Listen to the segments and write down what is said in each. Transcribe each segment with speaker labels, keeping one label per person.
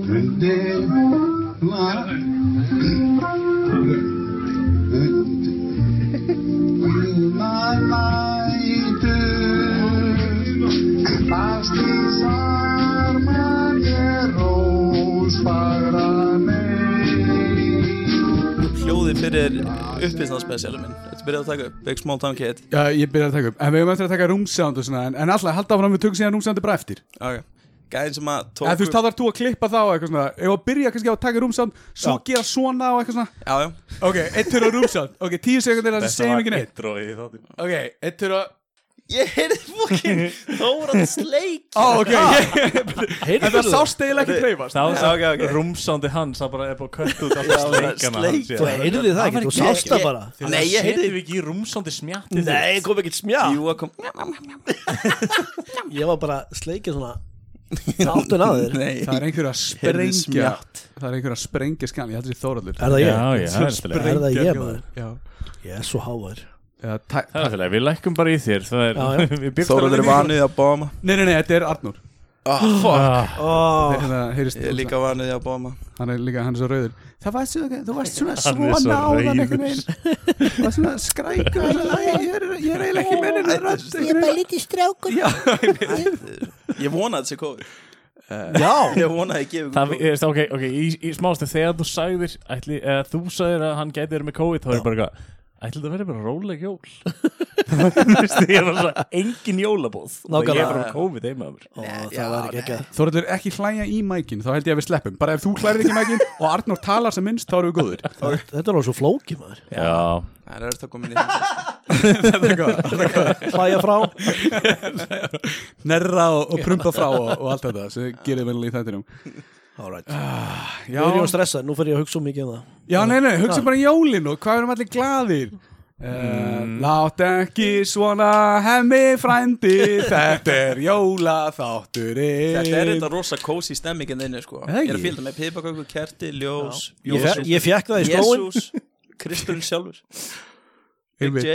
Speaker 1: 근데 말 My light Pastis armageros para me
Speaker 2: Hljóði fyrir uppisnaðspecialum minn Þetta byrjaði að taka upp, Big Small Town Kid
Speaker 3: Já, ég byrja að taka upp En við höfum eftir að taka rúmsound og svona En, en alltaf, halda áfram við tökum síðan rúmsoundu bara eftir
Speaker 2: okay. Gæðin sem að tók
Speaker 3: En þú veist, þá þarf þú að klippa þá og eitthvað svona Ef að byrja kannski á að taka rúmsound Svo gera svona og eitthvað svona
Speaker 2: Já, já,
Speaker 3: Ok, eitt fyrir á rúmsound Ok, tíu sekundir að
Speaker 4: Þetta
Speaker 3: segjum
Speaker 4: var
Speaker 3: ekki neitt
Speaker 4: intro í þáttum
Speaker 3: Ok, eitt fyrir á
Speaker 2: Ég heyrði fokkin Þóran Sleik
Speaker 3: Ó, ok, ég Þetta sást eiginlega ekki treyfast
Speaker 4: Það
Speaker 2: Já, ok,
Speaker 4: var
Speaker 2: ok.
Speaker 4: þess að rúmsándi hans Það bara er búið að kött út alltaf sleikana hans,
Speaker 5: Þú
Speaker 4: já.
Speaker 5: heyrði það ekki, þú sást það bara
Speaker 4: Þegar
Speaker 2: Nei, ég heyrði
Speaker 4: Setjum við ekki í rúmsándi smjatti
Speaker 5: Nei, kom ekkert smjá
Speaker 2: Jú, að kom
Speaker 5: Ég var bara að sleikja svona Náttun að þér
Speaker 2: Nei
Speaker 3: Það er einhver að sprengja
Speaker 2: smjatt.
Speaker 3: Það er einhver að sprengja skan Ég heldur því Þóraldur
Speaker 5: Er það
Speaker 4: Já,
Speaker 5: ég?
Speaker 4: já, það er alltaf leið.
Speaker 5: Er það ég
Speaker 3: Sprengja-
Speaker 5: maður?
Speaker 3: Já
Speaker 5: Ég er svo hávar
Speaker 3: Eða tæ-
Speaker 4: Það er alltaf leið, Við lækkum bara í þér Það er
Speaker 5: Já, já.
Speaker 4: við byrjum
Speaker 2: Þóran er
Speaker 4: alveg-
Speaker 2: vanið að bóma
Speaker 3: Nei, nei, nei, þetta er Arnur
Speaker 4: Ah,
Speaker 3: Það er hérna, heyrist
Speaker 2: Ég er líka vanið að bóma
Speaker 3: Hann er líka, hann er svo rauður Það var svona, þú varst svona
Speaker 4: Hann er svo
Speaker 3: svona áðan einhvern
Speaker 4: rauður.
Speaker 3: veginn Það var svona skrækur Ég er ég er eiginlega ekki menninu rödd
Speaker 6: Ég er bara lítið strákur
Speaker 2: Ég vona að þetta sé kóður
Speaker 5: Já,
Speaker 2: Ég vona að ég gefi
Speaker 4: Það
Speaker 2: kóður
Speaker 4: er, ok, ok, í, í smástu þegar þú sagðir, ætli, eða þú sagðir að hann gæti verið með COVID, þá er ég bara eitthvað, ætli það verið bara róleg jól. Þú veist, ég var svo, engin jólabóð. Nákvæmlega. Ég
Speaker 5: Nákvæmlega.
Speaker 4: er bara með COVID heima yfir.
Speaker 5: Ó, það var ekki ekki
Speaker 3: Þorður ekki hlæja í mækin, þá held ég að við sleppum Bara ef þú hlærir ekki í mækin og Arnur talar sem minnst, þá erum við góðir
Speaker 5: Þetta er alveg svo flóki maður
Speaker 4: Já.
Speaker 2: Það er þetta komin í þetta.
Speaker 5: Hlæja frá
Speaker 3: Nerra og, og prumpa frá og, og allt þetta sem gerir vel í þættinum
Speaker 5: Alright
Speaker 3: Já,
Speaker 5: Nú er ég að stressa, nú fer ég að hugsa um mikið um það
Speaker 3: já nei, nei, hugsa bara um jólin og hvað erum allir glaðir Mm. Látt ekki svona hemmi frændi Þetta er jólaþátturinn
Speaker 2: Þetta er þetta rosa kósi stemmingin þinni sko
Speaker 3: Hei.
Speaker 2: Ég er að fylgta með pipaköku, kerti, ljós
Speaker 5: Ég fe- Ég fekk það í skóin
Speaker 2: Jésús Kristurinn sjálfur Big
Speaker 3: Einmitt.
Speaker 2: J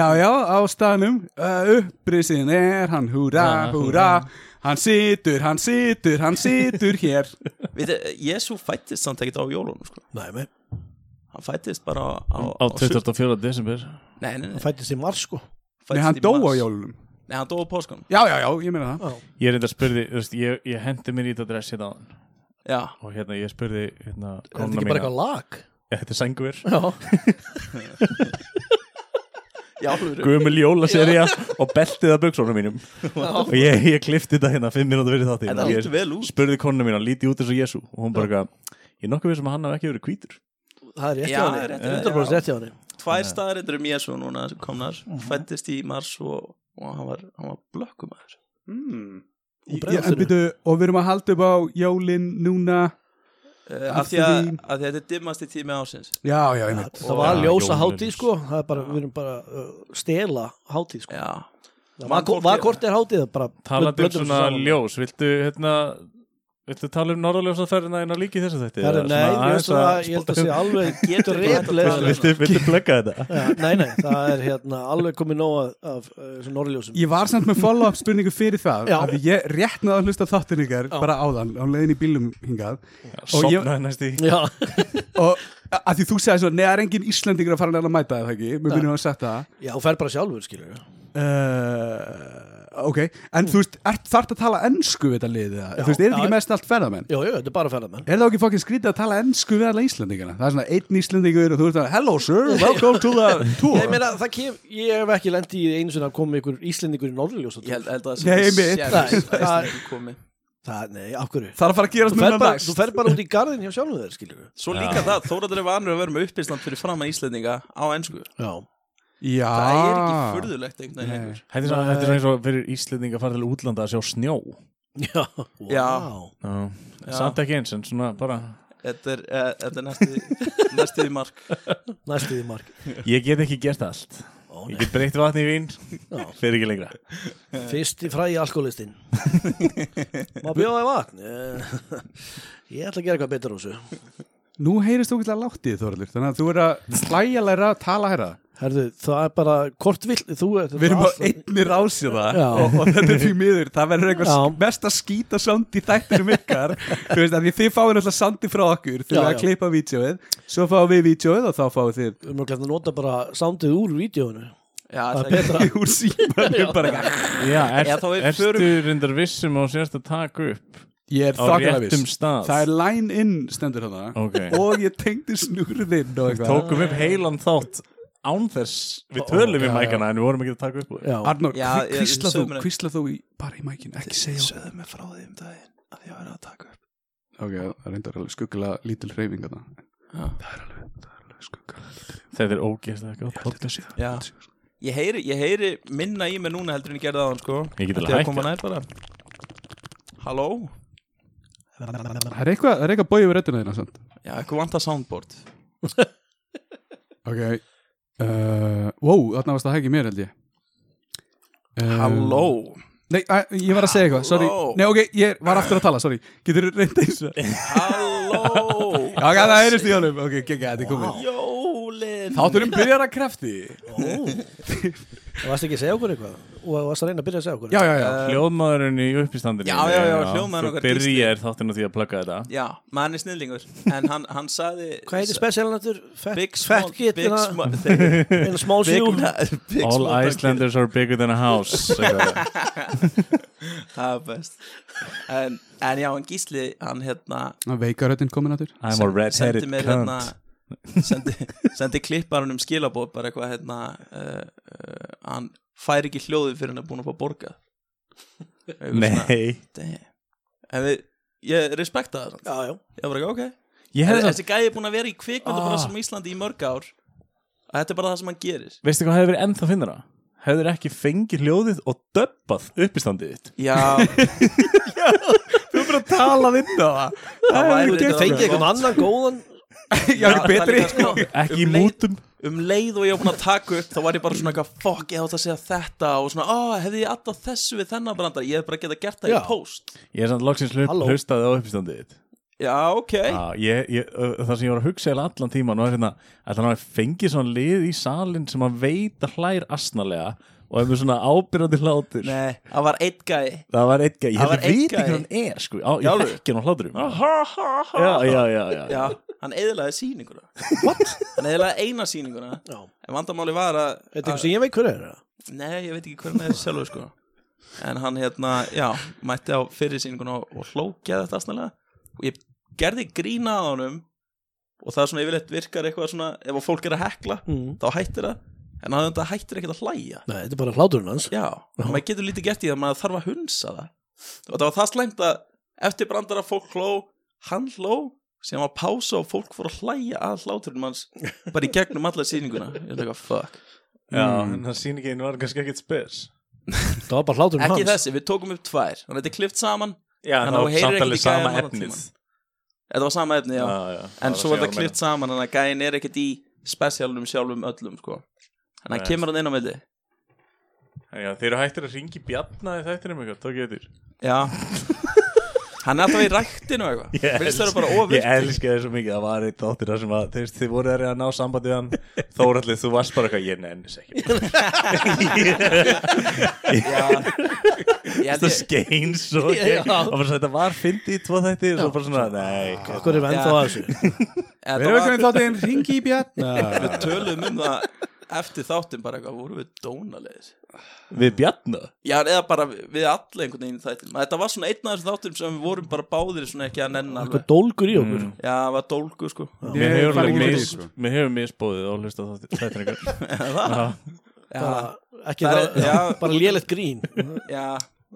Speaker 3: Já, já, á staðnum uh, upprisin er hann, húra,
Speaker 4: Ah,
Speaker 3: húra Hann situr, hann situr, hann situr hér
Speaker 2: Við þið, Jésu fættist samt ekkert á jólunum sko
Speaker 5: Nei, nei,
Speaker 2: Hann fættist bara á, á,
Speaker 4: Á 24. desember.
Speaker 2: sum- Nei, nei, nei
Speaker 5: það fættist í mars sko
Speaker 3: Nei, hann
Speaker 2: fæddist í
Speaker 3: dó á
Speaker 2: mars.
Speaker 3: jólunum
Speaker 2: Nei, hann dó á páskunum
Speaker 3: Já, já, já, ég meina það
Speaker 4: Ég er enda að spurði, þú veist, ég, ég hendi mér í þetta dress hérna á hann.
Speaker 2: Já
Speaker 4: Og hérna, ég spurði, hérna,
Speaker 5: Er þetta
Speaker 4: kona
Speaker 5: ekki bara
Speaker 4: mína.
Speaker 5: eitthvað lag?
Speaker 4: Ég, Þetta er sængur.
Speaker 5: Já
Speaker 2: Í alvöru
Speaker 4: Guðmul jólaserja og beltið að buksónum mínum. og ég, ég klifti þetta hérna fimm minúti verið þátti.
Speaker 2: En það
Speaker 4: Ég-
Speaker 2: lítur vel út
Speaker 4: spurði konuna mín að líti út eins og Jésu og hún bara eitthvað ég er nokkuð við sem að hann hafi ekki verið hvítur
Speaker 5: Það er rétt
Speaker 2: Já,
Speaker 5: hjá
Speaker 2: það er
Speaker 5: henni
Speaker 2: rétt hjá henni.
Speaker 5: 100% rétt hjá henni
Speaker 2: Tvær staðarindur um Jésu núna sem komnar Fættist í mars og, og hann var, hann var blökkumæður
Speaker 3: mm.
Speaker 5: Hún
Speaker 3: já,
Speaker 5: bregðast
Speaker 3: En
Speaker 5: henni.
Speaker 3: byrju, og við erum að halda upp á jólin núna
Speaker 2: uh, af, því að, af því að þetta er dimmasti tími ásins
Speaker 3: Já, já, ég meina
Speaker 5: Það var
Speaker 4: Já,
Speaker 5: ljósa
Speaker 4: jólin
Speaker 5: hátíð
Speaker 4: er-
Speaker 5: sko Það er bara, við erum bara uh, stela hátíð sko
Speaker 2: Já
Speaker 5: Það var- Var hvort er hátíð bara
Speaker 4: talandi um
Speaker 5: blöndum
Speaker 4: svona
Speaker 5: saman.
Speaker 4: ljós viltu hérna viltu tala um norðaljósaferðina en að líki þessu þetta
Speaker 5: Herru, nei, ég veist að ég held að sé alveg
Speaker 2: getur ekki hægt að
Speaker 5: dreplega-
Speaker 2: tala um
Speaker 4: um- viltu, viltu plugga þetta
Speaker 5: Já, Nei, nei, það er hérna alveg komið nóg af, af uh, norrljósum
Speaker 3: Ég var samt með follow-up spurningu fyrir það
Speaker 5: Já.
Speaker 3: að ég rétt náða að hlusta á þáttinn ykkar bara áðan, á leiðin í bílum hingað Og ég-
Speaker 4: sopnaði næst í
Speaker 5: Já,
Speaker 3: og að því þú segir svona, neða er engin Íslendingur að fara að mæta það ekki, mér byrjum að setja það
Speaker 5: já, hún fer bara sjálfur, skilur við
Speaker 3: Uh, ok, en þú veist ert þart að tala ennsku við þetta liðið eða? þú veist, er þetta
Speaker 5: já.
Speaker 3: ekki mest allt ferðamenn?
Speaker 5: Jú, jú, þetta er bara ferðamenn
Speaker 3: Er það ekki fokkin skrítið að tala ennsku við alla Íslendingana? Það er svona einn Íslendingur og þú veist að Hello sir, welcome to the tour
Speaker 5: Ég meina, það kem, ég hef ekki lendið í því einu sinna að koma ykkur Íslendingur í norrljós
Speaker 2: Ég held, held að
Speaker 3: Nei,
Speaker 2: það
Speaker 3: einmitt.
Speaker 2: sér
Speaker 5: Nei, það-
Speaker 2: Æslandin komi
Speaker 5: Það, nei, af hverju
Speaker 3: Það er að fara að gerast
Speaker 5: Þú fer,
Speaker 3: núna um
Speaker 5: bara,
Speaker 3: næst
Speaker 5: þú fer bara út í garðin hjá sjálfum þeir, skilur við
Speaker 2: Svo líka það, Þóraður er vanur að vera með uppisland fyrir framan Íslendinga á ennsku
Speaker 5: Já,
Speaker 3: Já
Speaker 2: Það er ekki furðulegt einhvern veginn lengur.
Speaker 4: þetta er svona- þetta er svona eins og fyrir Íslending að fara til útlanda að sjá snjó
Speaker 5: já,
Speaker 2: Já.
Speaker 5: wow.
Speaker 4: Já. samt ekki eins en svona bara
Speaker 2: Þetta er, eh, þetta er næstu, næstu í mark
Speaker 5: Næstu því mark
Speaker 4: ég get ekki gert allt
Speaker 5: Ó,
Speaker 4: ég
Speaker 5: nei.
Speaker 4: get breytt vatni í vín
Speaker 5: Já.
Speaker 4: fyrir ekki lengra
Speaker 2: Eh.
Speaker 5: Fyrsti fræði alkoholistinn Má bjóða í vatn Eh, Ég ætla að gera eitthvað betur á þessu
Speaker 3: Nú heyrist þú ekki að látti Þorlur Þannig að þú er að slæja læra að tala hæra
Speaker 5: Herðu, það er bara hvort vill þú ert
Speaker 3: Við erum á
Speaker 5: alltaf-
Speaker 3: einni rási það
Speaker 5: Já.
Speaker 3: og, og þetta er því miður Það verður eitthvað
Speaker 5: Já.
Speaker 3: mest að skýta sound í þættinum ykkar Þú veist að því þið fáið náttúrulega soundi frá okkur Þið
Speaker 5: Já,
Speaker 3: er
Speaker 5: já.
Speaker 3: að klippa vítjóið Svo fáum við vítjóið og þá fáum þið
Speaker 5: Við erum að nota bara soundið úr vídjóinu
Speaker 2: Já,
Speaker 5: Það er
Speaker 2: það-
Speaker 5: betra
Speaker 3: úr símanum bara eitthvað.
Speaker 4: Já, er,
Speaker 2: Já, þá við
Speaker 4: ertu
Speaker 2: förum-
Speaker 4: reyndar vissum og sérst að taka upp
Speaker 3: Ég er
Speaker 4: á
Speaker 3: þakkalega
Speaker 4: réttum
Speaker 3: viss
Speaker 4: stað
Speaker 3: Það er line in stendur þarna
Speaker 4: Ok.
Speaker 3: Og ég tengdi snurðinn og eitthvað
Speaker 4: Tókum upp heilan þátt án þess Við tölum í
Speaker 5: já,
Speaker 4: mækana en við vorum ekki að taka upp úr
Speaker 5: Já,
Speaker 3: Arnór,
Speaker 2: Já, ég-
Speaker 3: kvísla þú,
Speaker 2: sögðu mér-
Speaker 3: kvísla þú í, bara í mækinu, ekki segja
Speaker 2: Sögðu mig frá því um daginn að ég verið að taka upp
Speaker 3: Ok, það reyndar alveg skuggulega lítil hreyfing þarna.
Speaker 2: Já.
Speaker 3: Það er alveg, það er alveg skuggulega lítil
Speaker 4: Þetta er ógeðslega gott podcast
Speaker 2: Já. Ég heyri, ég heyri minna í mig núna heldur en ég gerði aðan sko
Speaker 4: Ég get
Speaker 2: Þetta
Speaker 4: alveg
Speaker 2: er
Speaker 4: hætt,
Speaker 2: að koma nær bara Halló?
Speaker 3: Það er eitthvað, það er eitthvað bóið við röddina þína, sant?
Speaker 2: Já, eitthvað vantar soundboard
Speaker 3: Ok uh, Wow, þarna varst það hægir mér held ég um,
Speaker 2: Halló?
Speaker 3: Nei, að, ég var að segja eitthvað, sorry
Speaker 2: Halló.
Speaker 3: Nei, ok, ég var aftur að tala, sorry Getur þú reynda eins og Já,
Speaker 2: Halló?
Speaker 3: ok, það heyrist í honum Ok, gegga, þetta er komið
Speaker 2: Jólin
Speaker 3: Þátturum byrjar að krafti Já,
Speaker 5: það varst ekki að segja okkur eitthvað og varst að reyna að byrja að segja okkur
Speaker 3: já, já
Speaker 2: Eh.
Speaker 4: Hljóðmaðurinn í uppistandinu
Speaker 2: Já, já, já, hljóðmaðurinn
Speaker 4: Svo
Speaker 2: okkar
Speaker 4: byrjar þáttinn á því að plugga þetta
Speaker 2: Já, mann er snillingur En hann, hann sagði
Speaker 5: Hvað heitir spesialinn aftur? Fat-
Speaker 2: Big
Speaker 5: Fat
Speaker 2: small
Speaker 5: Kid
Speaker 2: Big
Speaker 5: hérna,
Speaker 2: small Big
Speaker 5: en smá sjú
Speaker 2: big
Speaker 4: All
Speaker 2: small
Speaker 4: Icelanders are bigger than a house eitthvað.
Speaker 2: Það er best en, en já, en Gísli, hann hérna
Speaker 3: Veikaröddin komin aftur
Speaker 4: I'm a red-headed
Speaker 2: sendi mér
Speaker 4: cunt
Speaker 2: hérna sendi, sendi klipparunum skilabóð bara eitthvað hérna uh, uh, hann fær ekki hljóðið fyrir hann er búin að fá borga Eitthvað svona,
Speaker 4: Nei
Speaker 2: damn. en við, ég respekta það samt.
Speaker 5: Já, já,
Speaker 2: ég var bara ok
Speaker 4: Ég
Speaker 2: En
Speaker 4: hefði
Speaker 2: þessi gæði er búin að vera í
Speaker 5: Ah.
Speaker 2: kvikmyndabransan á Íslandi í mörg ár að þetta er bara það sem hann gerir
Speaker 4: Veistu hvað hefur verið ennþá finnara? Hefur ekki fengið hljóðið og döbbað uppistandið þitt
Speaker 2: já,
Speaker 3: Talað inn á það
Speaker 2: það væri
Speaker 5: Ég fengi eitthvað annan góðan
Speaker 3: Já, það er betri
Speaker 4: Ekki í mútum
Speaker 2: um leið og ég var búin að taka upp þá var ég bara svona eitthvað fuck ég átt að segja þetta og svona ó hefði ég alltaf þessu við þennan brandar ég hef bara getað gert það
Speaker 5: Já.
Speaker 2: í post
Speaker 4: Ég er samt loksins hlut
Speaker 5: Halló.
Speaker 4: hlustaði á uppistandið þitt
Speaker 2: já ok
Speaker 4: Já, ég, ég, ö, Það sem ég var að hugsa eiginlega allan tíman var hérna að hann hafi fengið svona lið í salin sem hann veit að hlær asnalega og hefur svona ábyrjandi hlátur
Speaker 2: nei það var einn gæ
Speaker 4: Það var einn gæði, ég
Speaker 2: Það
Speaker 4: held
Speaker 2: var
Speaker 4: ég
Speaker 2: einn
Speaker 4: veit ekki
Speaker 2: gæi.
Speaker 4: hvað hann er sko, á, ég
Speaker 2: Jálfur.
Speaker 4: þekki hann á hláturum Já, já, já, já, já.
Speaker 2: já hann eðlaði sýninguna hann eðlaði eina sýninguna
Speaker 5: Já.
Speaker 2: en vandamáli var að
Speaker 5: Þetta er eitthvað sem ég veit hverju er það
Speaker 2: nei ég veit ekki hvernig það er sjálfur sko en hann hérna já mætti á fyrir sýninguna og- og hlókjaði þetta snarlega og ég gerði grína á honum og það svona yfirleitt virkar eitthvað svona ef að fólk er að hekla þá hættir það en hann þetta hættir ekkert að hlæja
Speaker 5: Nei, þetta er bara hláturinn hans
Speaker 2: já, og maður getur lítið gert í það maður þarf að hunsa það og það var það slæmt að eftir brandara fólk hló hann hló, sem var pása og fólk fór að hlæja að hláturinn manns bara í gegnum alla sýninguna ég er líka fuck,
Speaker 4: já En það sýningin var kannski ekkert spes
Speaker 5: Það var bara hláturinn hans
Speaker 2: ekki þessi, við tókum upp tvær þannig að þetta er klift saman,
Speaker 4: Já,
Speaker 2: En
Speaker 4: það
Speaker 2: þá
Speaker 4: var
Speaker 2: heyrir
Speaker 4: samt
Speaker 2: ekkert
Speaker 4: alveg
Speaker 2: í
Speaker 4: sama
Speaker 2: gæjann allan
Speaker 4: efnið
Speaker 2: tímann. þetta var sama efni já,
Speaker 4: Já, já,
Speaker 2: en
Speaker 4: það
Speaker 2: svo var
Speaker 4: að um
Speaker 2: þetta
Speaker 4: segja
Speaker 2: klift saman þannig að gæin er ekkert í spesialunum sjálfum öllum sko. þannig
Speaker 4: Nei.
Speaker 2: að kemur hann inn á milli
Speaker 4: meina. Já, þeir eru hættir að ringi bjarnaði þættinum eitthvað, tók ég þetta
Speaker 2: já hann er alltaf í ræktinu og eitthvað
Speaker 4: Ég
Speaker 2: yes. finnst það bara
Speaker 4: Ég
Speaker 2: ofur
Speaker 4: elska þér svo mikið, það var eitt áttir það sem að þeir, þið voru að reyna að ná sambandi við hann Þóralli, þú varst bara eitthvað, ég nennis ekki
Speaker 2: ég held
Speaker 4: Það
Speaker 2: ég
Speaker 4: skein svo
Speaker 2: Já.
Speaker 4: gegn- og bara svo, Þetta var fyndi í tvo þætti og svo bara svona, nei
Speaker 5: Akkur er við ennþá
Speaker 2: Já.
Speaker 5: að þessu
Speaker 2: Þetta
Speaker 3: Við um erum
Speaker 2: var-
Speaker 3: ekki þáttinn Ringi í Bjarn
Speaker 2: Við tölum um það eftir þáttum bara eitthvað, vorum við dónalegir
Speaker 4: Við bjarna?
Speaker 2: Já, eða bara við alla einhvern veginn í þættinum Þetta var svona einn af þessum þáttum sem við vorum bara báðir svona ekki að nenn
Speaker 5: Eitthvað
Speaker 2: alveg
Speaker 5: dólgur í okkur
Speaker 2: Já, það var dólgu sko
Speaker 4: Mér hefur
Speaker 3: farið
Speaker 4: alveg
Speaker 3: út í
Speaker 4: mis,
Speaker 3: sko.
Speaker 4: mér hefur misbóðið og hlusta þetta ykkur
Speaker 5: bara, Ekki
Speaker 2: Það
Speaker 5: það,
Speaker 2: er- já.
Speaker 5: bara lélegt grín
Speaker 2: Já,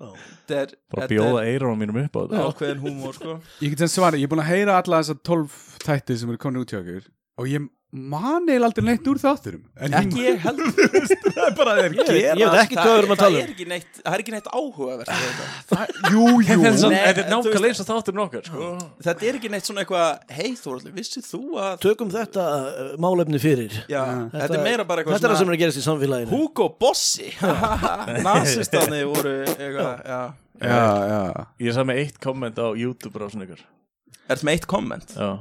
Speaker 2: þetta er
Speaker 4: bara
Speaker 2: þetta
Speaker 4: bjóða
Speaker 2: er
Speaker 4: eirum mínum upp á þetta
Speaker 2: Ákveðin húmór sko
Speaker 3: Ég get sem svara, ég er búin að heyra alla þessar 12 þætti sem eru komin út hjá okkur og ég man eil aldrei neitt úr þátturum en
Speaker 2: Ekki ég heldur
Speaker 3: það er bara að þeir
Speaker 5: Ég veit- ég veit ekki hvað við erum að
Speaker 2: Það er
Speaker 5: tala um
Speaker 2: ekki neitt, það er ekki neitt áhugavert við þetta.
Speaker 3: gera Jú, jú
Speaker 4: Þetta er
Speaker 2: Nei,
Speaker 4: samt-
Speaker 2: en þú
Speaker 4: þetta er
Speaker 2: veist-
Speaker 4: nákvæmlega eins og þáttur nokkar sko.
Speaker 2: Þetta er ekki neitt svona eitthvað Hei Þoralli, vissið þú að
Speaker 5: Tökum þetta uh, málefni fyrir
Speaker 2: Já, þetta er meira bara eitthvað
Speaker 5: Þetta er það sem er að gerast í samfélaginu
Speaker 2: Hugo Bossi Nasistani voru eitthvað, já
Speaker 3: Já, já
Speaker 4: Ég sagði með eitt komment á YouTube rásin ykkur
Speaker 2: Er þetta með eitt komment?
Speaker 4: Já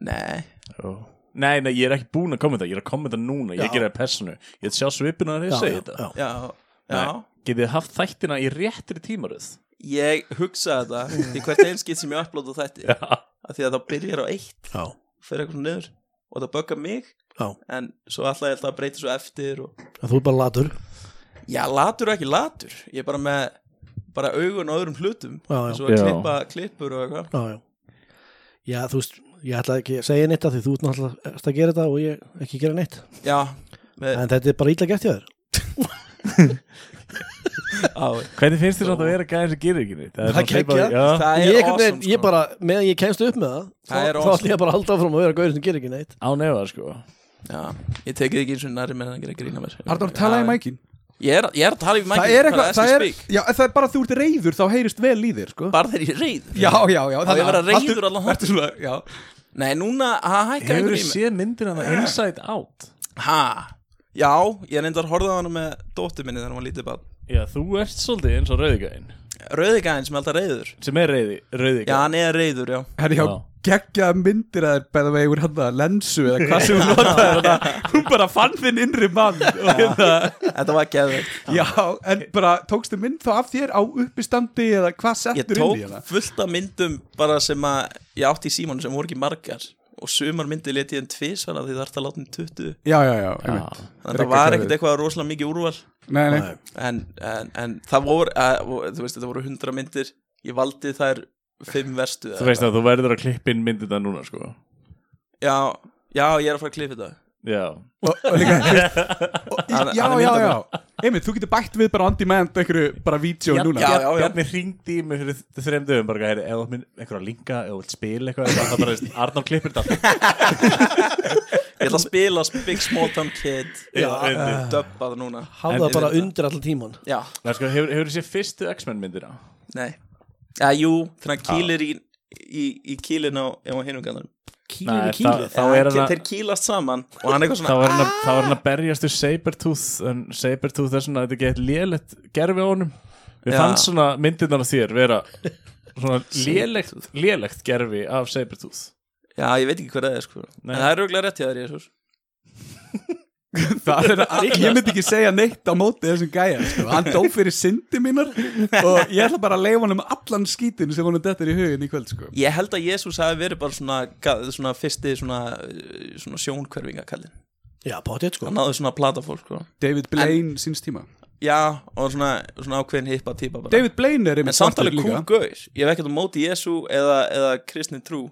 Speaker 2: Nei,
Speaker 4: Nei, nei, ég er ekki búin að kommenta, ég er að kommenta núna,
Speaker 5: Já.
Speaker 4: ég gerði það í personu Ég ætla að sjá svipina þegar ég segi þetta
Speaker 2: já, já
Speaker 4: Nei. Getið þið haft þættina í réttri tímaröð
Speaker 2: Ég hugsa þetta í hvert einskitt sem ég upplóta þetta
Speaker 4: Já,
Speaker 2: af því að það byrjar á eitt
Speaker 5: já,
Speaker 2: fyrir eitthvað svona niður og það böggar mig
Speaker 5: já.
Speaker 2: en svo alltaf ég alltaf að breyta svo eftir og...
Speaker 5: En Þú er bara latur
Speaker 2: Já, latur og ekki latur ég er bara með bara augun og öðrum hlutum
Speaker 5: Já, já.
Speaker 2: svo að
Speaker 4: Já.
Speaker 2: klippa klippur og eitthvað
Speaker 5: já, já. já, þú veist, ég ætla ekki að segja neitt af því þú ert náttúrulega erst að gera þetta og ég ekki gera neitt
Speaker 2: Já, með,
Speaker 5: En þetta er bara ítla gert hjá þér
Speaker 2: á,
Speaker 4: Hvernig finnst þér samt að vera gæðin sem gerir ekki neitt?
Speaker 5: Það
Speaker 4: svona
Speaker 5: gekkja.
Speaker 4: svipað- já.
Speaker 2: það er
Speaker 5: Ég, einhvern veginn-
Speaker 2: awesome sko.
Speaker 5: ég bara, meðan ég kemst upp með það,
Speaker 2: Það
Speaker 5: þá,
Speaker 2: er
Speaker 5: þá
Speaker 2: awesome.
Speaker 5: ætla ég bara að halda áfram að vera gaurin sem gerir ekki neitt
Speaker 4: Á nefa, sko
Speaker 2: Já, ég tekið ekki eins og næri með að gera grína mér
Speaker 3: Pardon, tala í
Speaker 2: Já,
Speaker 3: mækin
Speaker 2: Ég er, ég er að tala í mækin
Speaker 3: Það er eitthvað, það er, já, það er bara að þú ert reyður þá heyrist vel í þér, sko
Speaker 2: Bara þegar ég er reið
Speaker 3: Já, já, já
Speaker 2: Þá ég vera
Speaker 3: haltu-
Speaker 2: reiður allan
Speaker 3: Ertu svona, já
Speaker 2: Nei, núna, það hækkar
Speaker 4: Hefur
Speaker 2: einhvern í
Speaker 4: þið
Speaker 2: mér.
Speaker 4: séð myndir hann Inside Out?
Speaker 2: Ha, já, ég reyndar að horfa á hana með dóttur minni þegar hann var lítið bann
Speaker 4: Já, þú ert svolítið eins og rauðigæðin
Speaker 2: Rauðigæðin sem er alltaf reyður
Speaker 4: sem er rauði,
Speaker 2: Já,
Speaker 4: rauðigæðin
Speaker 2: hann er reyður, já
Speaker 3: Herri, já,
Speaker 4: Já.
Speaker 3: geggja myndir að þér bæða vegi úr hann að lensu eða hvað sem hún notaði þannig að hún bara fann þinn innri mann og hérna,
Speaker 2: Þetta var geðvegt
Speaker 3: já, en bara tókstu mynd þá af þér á uppistandi eða hvað
Speaker 2: Ég
Speaker 3: settur inn í hana
Speaker 2: tók fullt af myndum bara sem að ég átti í símanu sem voru ekki margar og sumar myndi leti ég en tvis þannig að því þarf að láta um 20
Speaker 3: Já, já, já, einmitt.
Speaker 2: þannig að
Speaker 3: Frekar
Speaker 2: það var
Speaker 3: klæðið.
Speaker 2: ekkert eitthvað rosalega mikið úrval
Speaker 3: Nei, nei,
Speaker 2: en, en, en það voru, að, þú veist, þetta voru 100 myndir ég valdi þær fimm verstu
Speaker 4: Þú veist að þú verður að klippa inn myndir það núna, sko
Speaker 2: Já, já, ég er að fara að klippa þetta
Speaker 4: Já,
Speaker 3: og, og líka þú veist, og,
Speaker 2: Hann-
Speaker 3: Já,
Speaker 2: hann er
Speaker 3: já, já
Speaker 2: myndavélin.
Speaker 3: Einmitt, þú getur bætt við bara on demand einhverju bara vídeo núna
Speaker 2: já.
Speaker 4: Bjarni ringdi í mig fyrir þreim dögum bara, heyri, eða þú átt minn einhverja linka, eða þú vilt spila eitthvað eitthvað, það bara, veist, Arnór klippir þetta
Speaker 2: Ég ætla að spila Big Small Town Kid
Speaker 4: Já,
Speaker 2: uh,
Speaker 4: einmitt.
Speaker 2: Döbbað núna
Speaker 5: Hafðu
Speaker 4: En-
Speaker 5: það bara undir allan tíman
Speaker 2: Já,
Speaker 4: Nei, sko, hefur, hefur þessi fyrstu X-Men myndir á?
Speaker 2: nei Já, jú, þannig að kýlir í, í, í kýlin á, á hinunganum
Speaker 5: Kýlið
Speaker 4: Nei,
Speaker 5: í kýlið
Speaker 4: Þá er hann að-
Speaker 2: Þeir kýlast saman og hann er eitthvað
Speaker 4: Þá
Speaker 2: svona
Speaker 4: er hann að, þá er hann að berjast við Sabertooth en Sabertooth er svona, þetta get lélegt gerfi á honum Við
Speaker 2: Já.
Speaker 4: fannst svona myndirnar af þér vera svona lélegt, lélegt gerfi af Sabertooth
Speaker 2: Já, ég veit ekki hvað það er sko
Speaker 4: Nei.
Speaker 2: En það er rauglega rétt hjá þér, Jésús
Speaker 3: Það er að, ég myndi ekki segja neitt á móti þessum gæja, sko. hann dó fyrir syndi mínar og ég ætla bara að leifa hann um allan skítin sem honum dettur í hugin í kvöld sko.
Speaker 2: Ég held að Jésús hafi verið bara svona, ga- svona fyrsti svona, uh, svona sjónkverfingakallin
Speaker 5: Já, potið sko
Speaker 2: Hann náði svona platafólk sko
Speaker 3: David Blaine síns tíma
Speaker 2: Já, og svona, svona ákveðin hippa típa bara
Speaker 3: David Blaine er
Speaker 2: En
Speaker 3: einmitt
Speaker 2: samt
Speaker 3: svartur
Speaker 2: alveg kúl gauð Ég hef ekkert á móti Jésú eða, eða kristni trú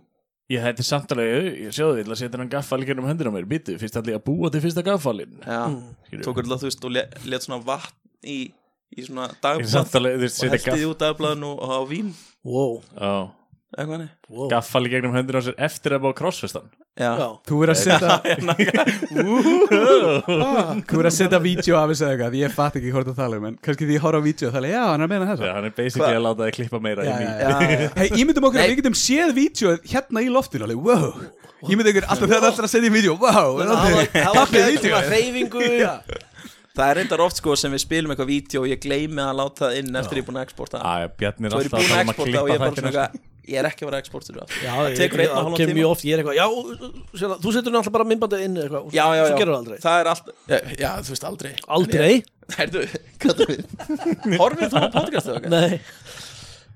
Speaker 4: Ég þetta er samtalið, ég sjáðu, ég ætla að setja hann gaffal í um hendur á mér, býtu, fyrst allir að búa til fyrsta gaffalinn
Speaker 2: Já,
Speaker 4: skilur.
Speaker 2: tók öll að þú veist og let, let svona vatn í, í svona
Speaker 4: Ég
Speaker 2: dagblad
Speaker 4: samtalið, þú veist,
Speaker 2: og
Speaker 4: setja
Speaker 2: heldi
Speaker 4: gaff
Speaker 2: því út dagblaðinu og á vín
Speaker 5: Wow,
Speaker 4: Já.
Speaker 2: eitthvað hannig
Speaker 5: wow
Speaker 4: gaffal í gegnum hendur á sér eftir að bá krossfestan
Speaker 2: Já,
Speaker 5: Já,
Speaker 3: Þú verður að setja Ah, Þú verður að setja vídeo af þessu eða eitthvað Ég fatt ekki hvort að tala um en kannski því ég horf á vídeo að tala Já, hann er að meina þess
Speaker 4: Já, hann er basically
Speaker 2: Hva-
Speaker 4: að láta þið klippa meira inn í
Speaker 2: já, já.
Speaker 3: Hei, ég myndum okkur að
Speaker 2: Nei.
Speaker 3: við getum séð vídeo hérna í loftinu alveg, wow Ég myndi okkur alltaf þegar alltaf að setja í vídeo, wow er allir- Tappið vídeo
Speaker 5: reyfingu
Speaker 2: það er reyndar oft sko sem við spilum eitthvað vídeo og ég gleymi að láta það inn eftir ég er búin að exporta það.
Speaker 4: Já, já, Bjarni er
Speaker 2: Svo er ég
Speaker 4: alltaf
Speaker 2: búin að
Speaker 4: að tala um að
Speaker 2: exporta og
Speaker 4: klippa
Speaker 2: ég er bara
Speaker 4: þættina,
Speaker 2: svona eitthvað, Ég er ekki að vera að exporta þetta
Speaker 5: Já,
Speaker 2: Það
Speaker 5: ég-
Speaker 2: tekur einn og
Speaker 5: það
Speaker 2: hálfan
Speaker 5: kemur mjög
Speaker 2: tíma
Speaker 5: oft, ég er eitthvað, já, sérna, þú setur náttúrulega bara myndbandið inn eitthvað, og
Speaker 2: Já, já,
Speaker 5: svo
Speaker 2: já,
Speaker 5: gerur það aldrei
Speaker 2: það er allt Já, já þú veist aldrei
Speaker 5: Aldrei?
Speaker 2: Herðu, hvað það við Horfir þú á podcastu okkar?
Speaker 5: Nei,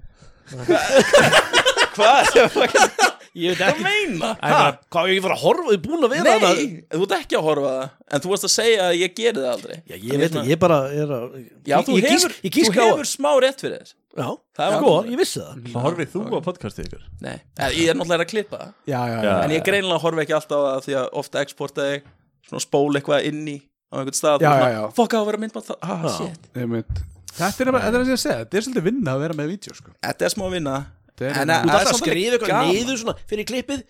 Speaker 2: Hvað?
Speaker 5: ég veit
Speaker 2: Hvað
Speaker 5: ekki
Speaker 2: meina?
Speaker 5: Ha, Hvað, ég var að horfa, ég er búin að vera
Speaker 2: Nei,
Speaker 5: þarna?
Speaker 2: þú ert ekki að horfa á það En þú varst að segja að ég geri það aldrei Hérna,
Speaker 5: Já, ég veit ekki, ég bara er að
Speaker 2: Já,
Speaker 5: ég-
Speaker 2: þú
Speaker 5: ég gís-
Speaker 2: hefur,
Speaker 5: Ég gísk
Speaker 2: þú
Speaker 5: á
Speaker 2: hefur smá rétt fyrir þess
Speaker 5: Já,
Speaker 2: Það er
Speaker 5: sko,
Speaker 2: vandamálið.
Speaker 5: ég vissi það
Speaker 4: Svo horfið þú á podcastið ykkur
Speaker 2: Nei, eða, ég er náttúrulega að klippa það
Speaker 3: Já, já,
Speaker 4: Já.
Speaker 3: já
Speaker 2: En ég greinilega horfi ekki alltaf á það Því að ofta exporta ég Svona spól eitthvað inn í Á einhvern stað
Speaker 3: Já,
Speaker 2: og
Speaker 3: já, já.
Speaker 2: Fokka á að vera myndbátt það Ah, shit
Speaker 3: Einmitt. Þetta er, þetta er að ég að segja, þetta er svolítið vinna að vera með vídeo sko.
Speaker 2: Þetta er smá vinna
Speaker 3: Þetta er-
Speaker 2: En að-
Speaker 3: Þú
Speaker 5: Þú
Speaker 2: það
Speaker 5: þarf
Speaker 2: er
Speaker 5: að
Speaker 2: samt alveg
Speaker 5: skrifa eitthvað
Speaker 2: gaman.
Speaker 5: niður svona fyrir klippið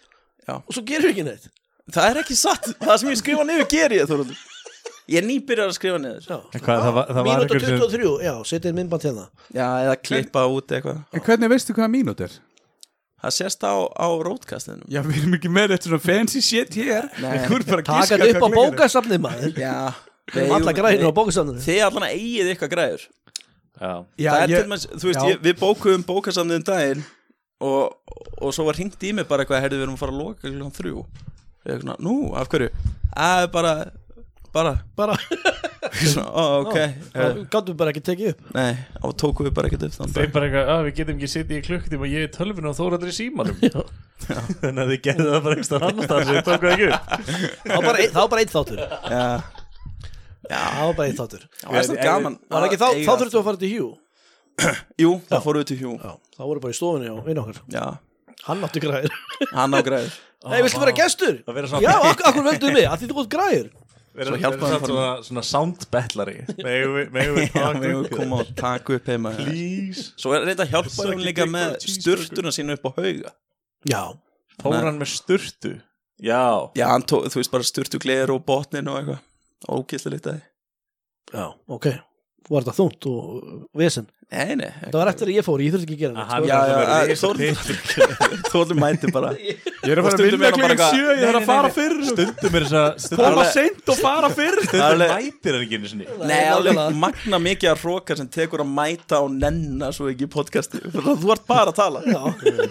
Speaker 2: Já.
Speaker 5: og svo gerur ekki neitt
Speaker 2: Það er ekki satt Það sem ég skrifa niður geri ég Þorvaldur Ég er nýbyrjar að skrifa niður
Speaker 5: Já.
Speaker 4: Hvað, það var, það var
Speaker 5: Mínúta
Speaker 4: einhver sem
Speaker 5: 23, já, setja inn myndband hérna
Speaker 2: Já, eða klippa út eitthvað
Speaker 3: En hvernig veistu hvaða mínút er?
Speaker 2: Það sést á, á rótkastinu
Speaker 3: Já, við erum ekki með þetta svona fancy shit hér
Speaker 2: Nei.
Speaker 3: Þú erum bara að
Speaker 5: Taka
Speaker 3: giska
Speaker 5: þetta upp á
Speaker 3: hvað klukkan er.
Speaker 5: bókasafnið maður
Speaker 2: Já
Speaker 5: Alla grænir á bókasafninu
Speaker 2: Þið allan að eigið ykkar græður
Speaker 4: Já,
Speaker 3: Já,
Speaker 2: það er
Speaker 3: ég-
Speaker 2: til maður, þú veist,
Speaker 3: já.
Speaker 2: ég, við bókuðum bókasamnið um daginn og, og svo var hringt í mig bara eitthvað heyrðu við erum að fara að loka klukkan þrjú eitthvað svona, nú, af hverju? að bara, bara
Speaker 5: bara,
Speaker 2: svona, ó, ok Heyrðu,
Speaker 5: gáttum við bara ekki tekið upp
Speaker 2: nei, og tókum við bara ekkert upp þann
Speaker 4: Þeir
Speaker 2: dag.
Speaker 4: bara eitthvað, að við getum ekki sittið í klukktíma Ég er tölvinu og þóraður í símanum Þannig að þið gerðu það bara einhverstað annars þar sem þið tókuð ekki upp
Speaker 5: það var bara, ein, það var bara einn þáttur
Speaker 2: já,
Speaker 5: það var bara einn þáttur
Speaker 2: það var svona gaman
Speaker 5: var ekki þá,
Speaker 2: eiga
Speaker 5: þá
Speaker 2: allt.
Speaker 5: þurftum við að fara til Hugh
Speaker 2: jú, það fóru við til hjú
Speaker 5: Já, þá voru bara í stofunni og inn okkar
Speaker 2: já,
Speaker 5: Hann átti græður
Speaker 2: hann á græður
Speaker 5: Nei, viltu vera gestur?
Speaker 4: Að vera svona-
Speaker 5: Já, ak akkur völduðu mig, að því þú gótt græður
Speaker 4: Verður
Speaker 2: Svo hjálpaðu
Speaker 4: verður samt
Speaker 2: honum.
Speaker 4: svona, svona sound battlari Megum við, megum við
Speaker 2: já,
Speaker 4: taka
Speaker 2: við
Speaker 4: upp
Speaker 2: komum og taka upp heima
Speaker 4: Please
Speaker 2: svo er reynda að hjálpa
Speaker 4: Suck
Speaker 2: hún
Speaker 4: it,
Speaker 2: líka
Speaker 4: take
Speaker 2: með
Speaker 4: my cheeseburger.
Speaker 2: sturtuna sína upp á hauga
Speaker 5: Já,
Speaker 4: Fór hann með sturtu Já
Speaker 2: já, hann tók, þú veist, bara sturtugleir og botnin og eitthvað ókýrslega lítið
Speaker 5: já, ok Var þetta þungt og vesen
Speaker 2: nei, nei,
Speaker 5: Það var eftir að ég fór, ég þurfti ekki að gera neitt
Speaker 4: Að hann-
Speaker 5: sko.
Speaker 2: já, já,
Speaker 4: Það var
Speaker 2: að Þórður Þórður mæti bara
Speaker 3: Ég er að fara að
Speaker 2: stundum
Speaker 3: vinna
Speaker 2: er hann bara
Speaker 3: klukkan
Speaker 2: eitthvað-
Speaker 3: sjö, ég er
Speaker 4: Nei, nei,
Speaker 3: að fara
Speaker 4: nei.
Speaker 3: fyrr
Speaker 4: Stundum er þess að
Speaker 3: Koma
Speaker 2: alveg-
Speaker 3: seint og fara fyrr
Speaker 2: Það er
Speaker 4: Stundum
Speaker 2: alveg-
Speaker 4: mætir hann ekki einu sinni
Speaker 2: Nei, alveg
Speaker 5: nákvæmlega.
Speaker 2: magna mikið að hróka sem tekur að mæta og nenna svo ekki í podcasti Fyrir að Þú ert bara að tala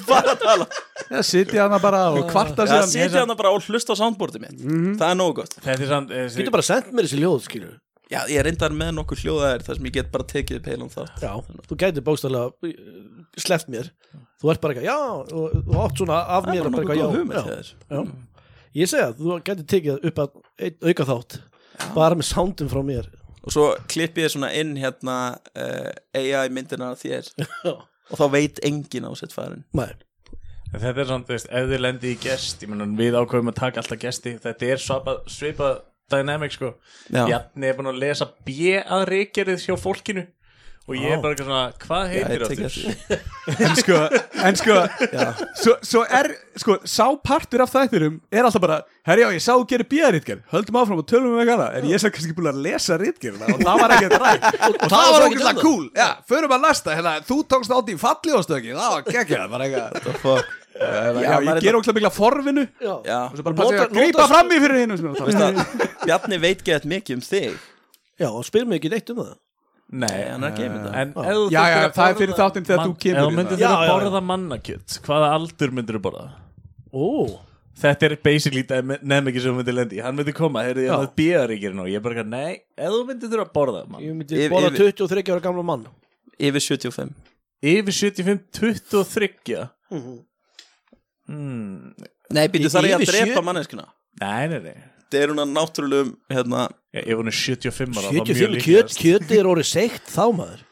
Speaker 2: Bara að tala
Speaker 3: Já, sitja hana bara og kvarta
Speaker 5: hérna-
Speaker 2: Það
Speaker 3: síðan
Speaker 2: sitja hann bara og hlusta á soundboardið mitt
Speaker 5: Mhm.
Speaker 2: Það er nógu gott
Speaker 4: Þetta er samt eh,
Speaker 5: Getur bara sendt mér þessi ljóð, skilur
Speaker 2: Já, ég reyndar með nokkuð hljóðaðir þar sem ég get bara tekið upp heilan þátt
Speaker 5: Já, þú gæti bókstæðlega sleppt mér Þú ert bara eitthvað, já, og þú átt svona af
Speaker 2: Það
Speaker 5: mér
Speaker 2: er bara
Speaker 5: og bara
Speaker 2: nokkuð góð
Speaker 5: eitthvað,
Speaker 2: hugmynd
Speaker 5: já,
Speaker 2: hjá þér.
Speaker 5: já, já. Ég segja, þú gæti tekið upp að einn auka þátt Bara með soundum frá mér
Speaker 2: Og svo klippi ég svona inn hérna uh, AI myndina af þér Og þá veit enginn á sitt farin
Speaker 5: Nei,
Speaker 4: En Þetta er samt, þú veist, ef þið lendi í gest ég meina, við ákveðum að taka alltaf gesti þetta er svipað svipa dynamic sko.
Speaker 2: Já.
Speaker 4: Bjarni er búin að lesa B að reykjarið hjá fólkinu og ég er bara eitthvað svona, hvað heitir
Speaker 2: tek
Speaker 4: þetta?
Speaker 2: eftir
Speaker 3: En sko, en sko svo, svo er, sko, sá partur af þættinum er alltaf bara Herjá, ég sá að gera bíðarítgerð, höldum áfram og tölum um eitthvað annað En ég er svo kannski búin að lesa rítgerðina og það var ekkert rætt Og það var
Speaker 5: svo ekkert
Speaker 3: okkurlega
Speaker 5: annað.
Speaker 3: cool, já, förum að næsta, hérna, þú tókst átt í fallífastöki, það var geggjað, bara eitthvað Já,
Speaker 2: Já, maður
Speaker 3: ég
Speaker 2: er
Speaker 3: ger okkurlega mikla forvinu
Speaker 5: já,
Speaker 2: Já,
Speaker 3: Og svo bara passa ég
Speaker 5: Nota-
Speaker 3: að grípa
Speaker 5: nota-
Speaker 3: fram í fyrir hinn
Speaker 2: veist það Bjarni veit gett mikið um þig
Speaker 5: já, og spyr mig ekki neitt um það
Speaker 4: Nei,
Speaker 2: Nei, hann er ekki með það.
Speaker 4: En ef þú
Speaker 3: Já,
Speaker 4: þyrftir
Speaker 3: já,
Speaker 4: að
Speaker 3: það er
Speaker 4: borða-
Speaker 3: fyrir þáttinn þegar þú
Speaker 4: mann-
Speaker 3: kemur í
Speaker 4: Ef þú myndir
Speaker 5: það.
Speaker 4: þurfa
Speaker 5: Já, já,
Speaker 4: að
Speaker 5: já.
Speaker 4: borða mannakjöt, hvaða aldur myndir þú borða?
Speaker 5: Ó,
Speaker 4: Þetta er basically dynamic sem þú myndir lendi í. Hann myndir koma, heyrðu, ég
Speaker 5: Já.
Speaker 4: að bíðaríkirinn og ég er bara, eitthvað, nei, ef þú myndir þurfa að borða mann
Speaker 5: ég myndi
Speaker 2: Yfir-
Speaker 5: borða
Speaker 2: yfir-
Speaker 5: 23 ára gamla mann
Speaker 2: Yfir 75
Speaker 4: Yfir 75, 23 hmm.
Speaker 2: Nei, býtu þar er ég að
Speaker 5: Yfir sjö-
Speaker 2: drepa manneskina
Speaker 4: Nei, nei, nei
Speaker 2: Það er hún að náttúrulegum hérna,
Speaker 4: Já, ef hún er 75 ára, þá mjög
Speaker 5: 75 kjöt,
Speaker 4: líklegast.
Speaker 5: kjöti er orðið seikt þá maður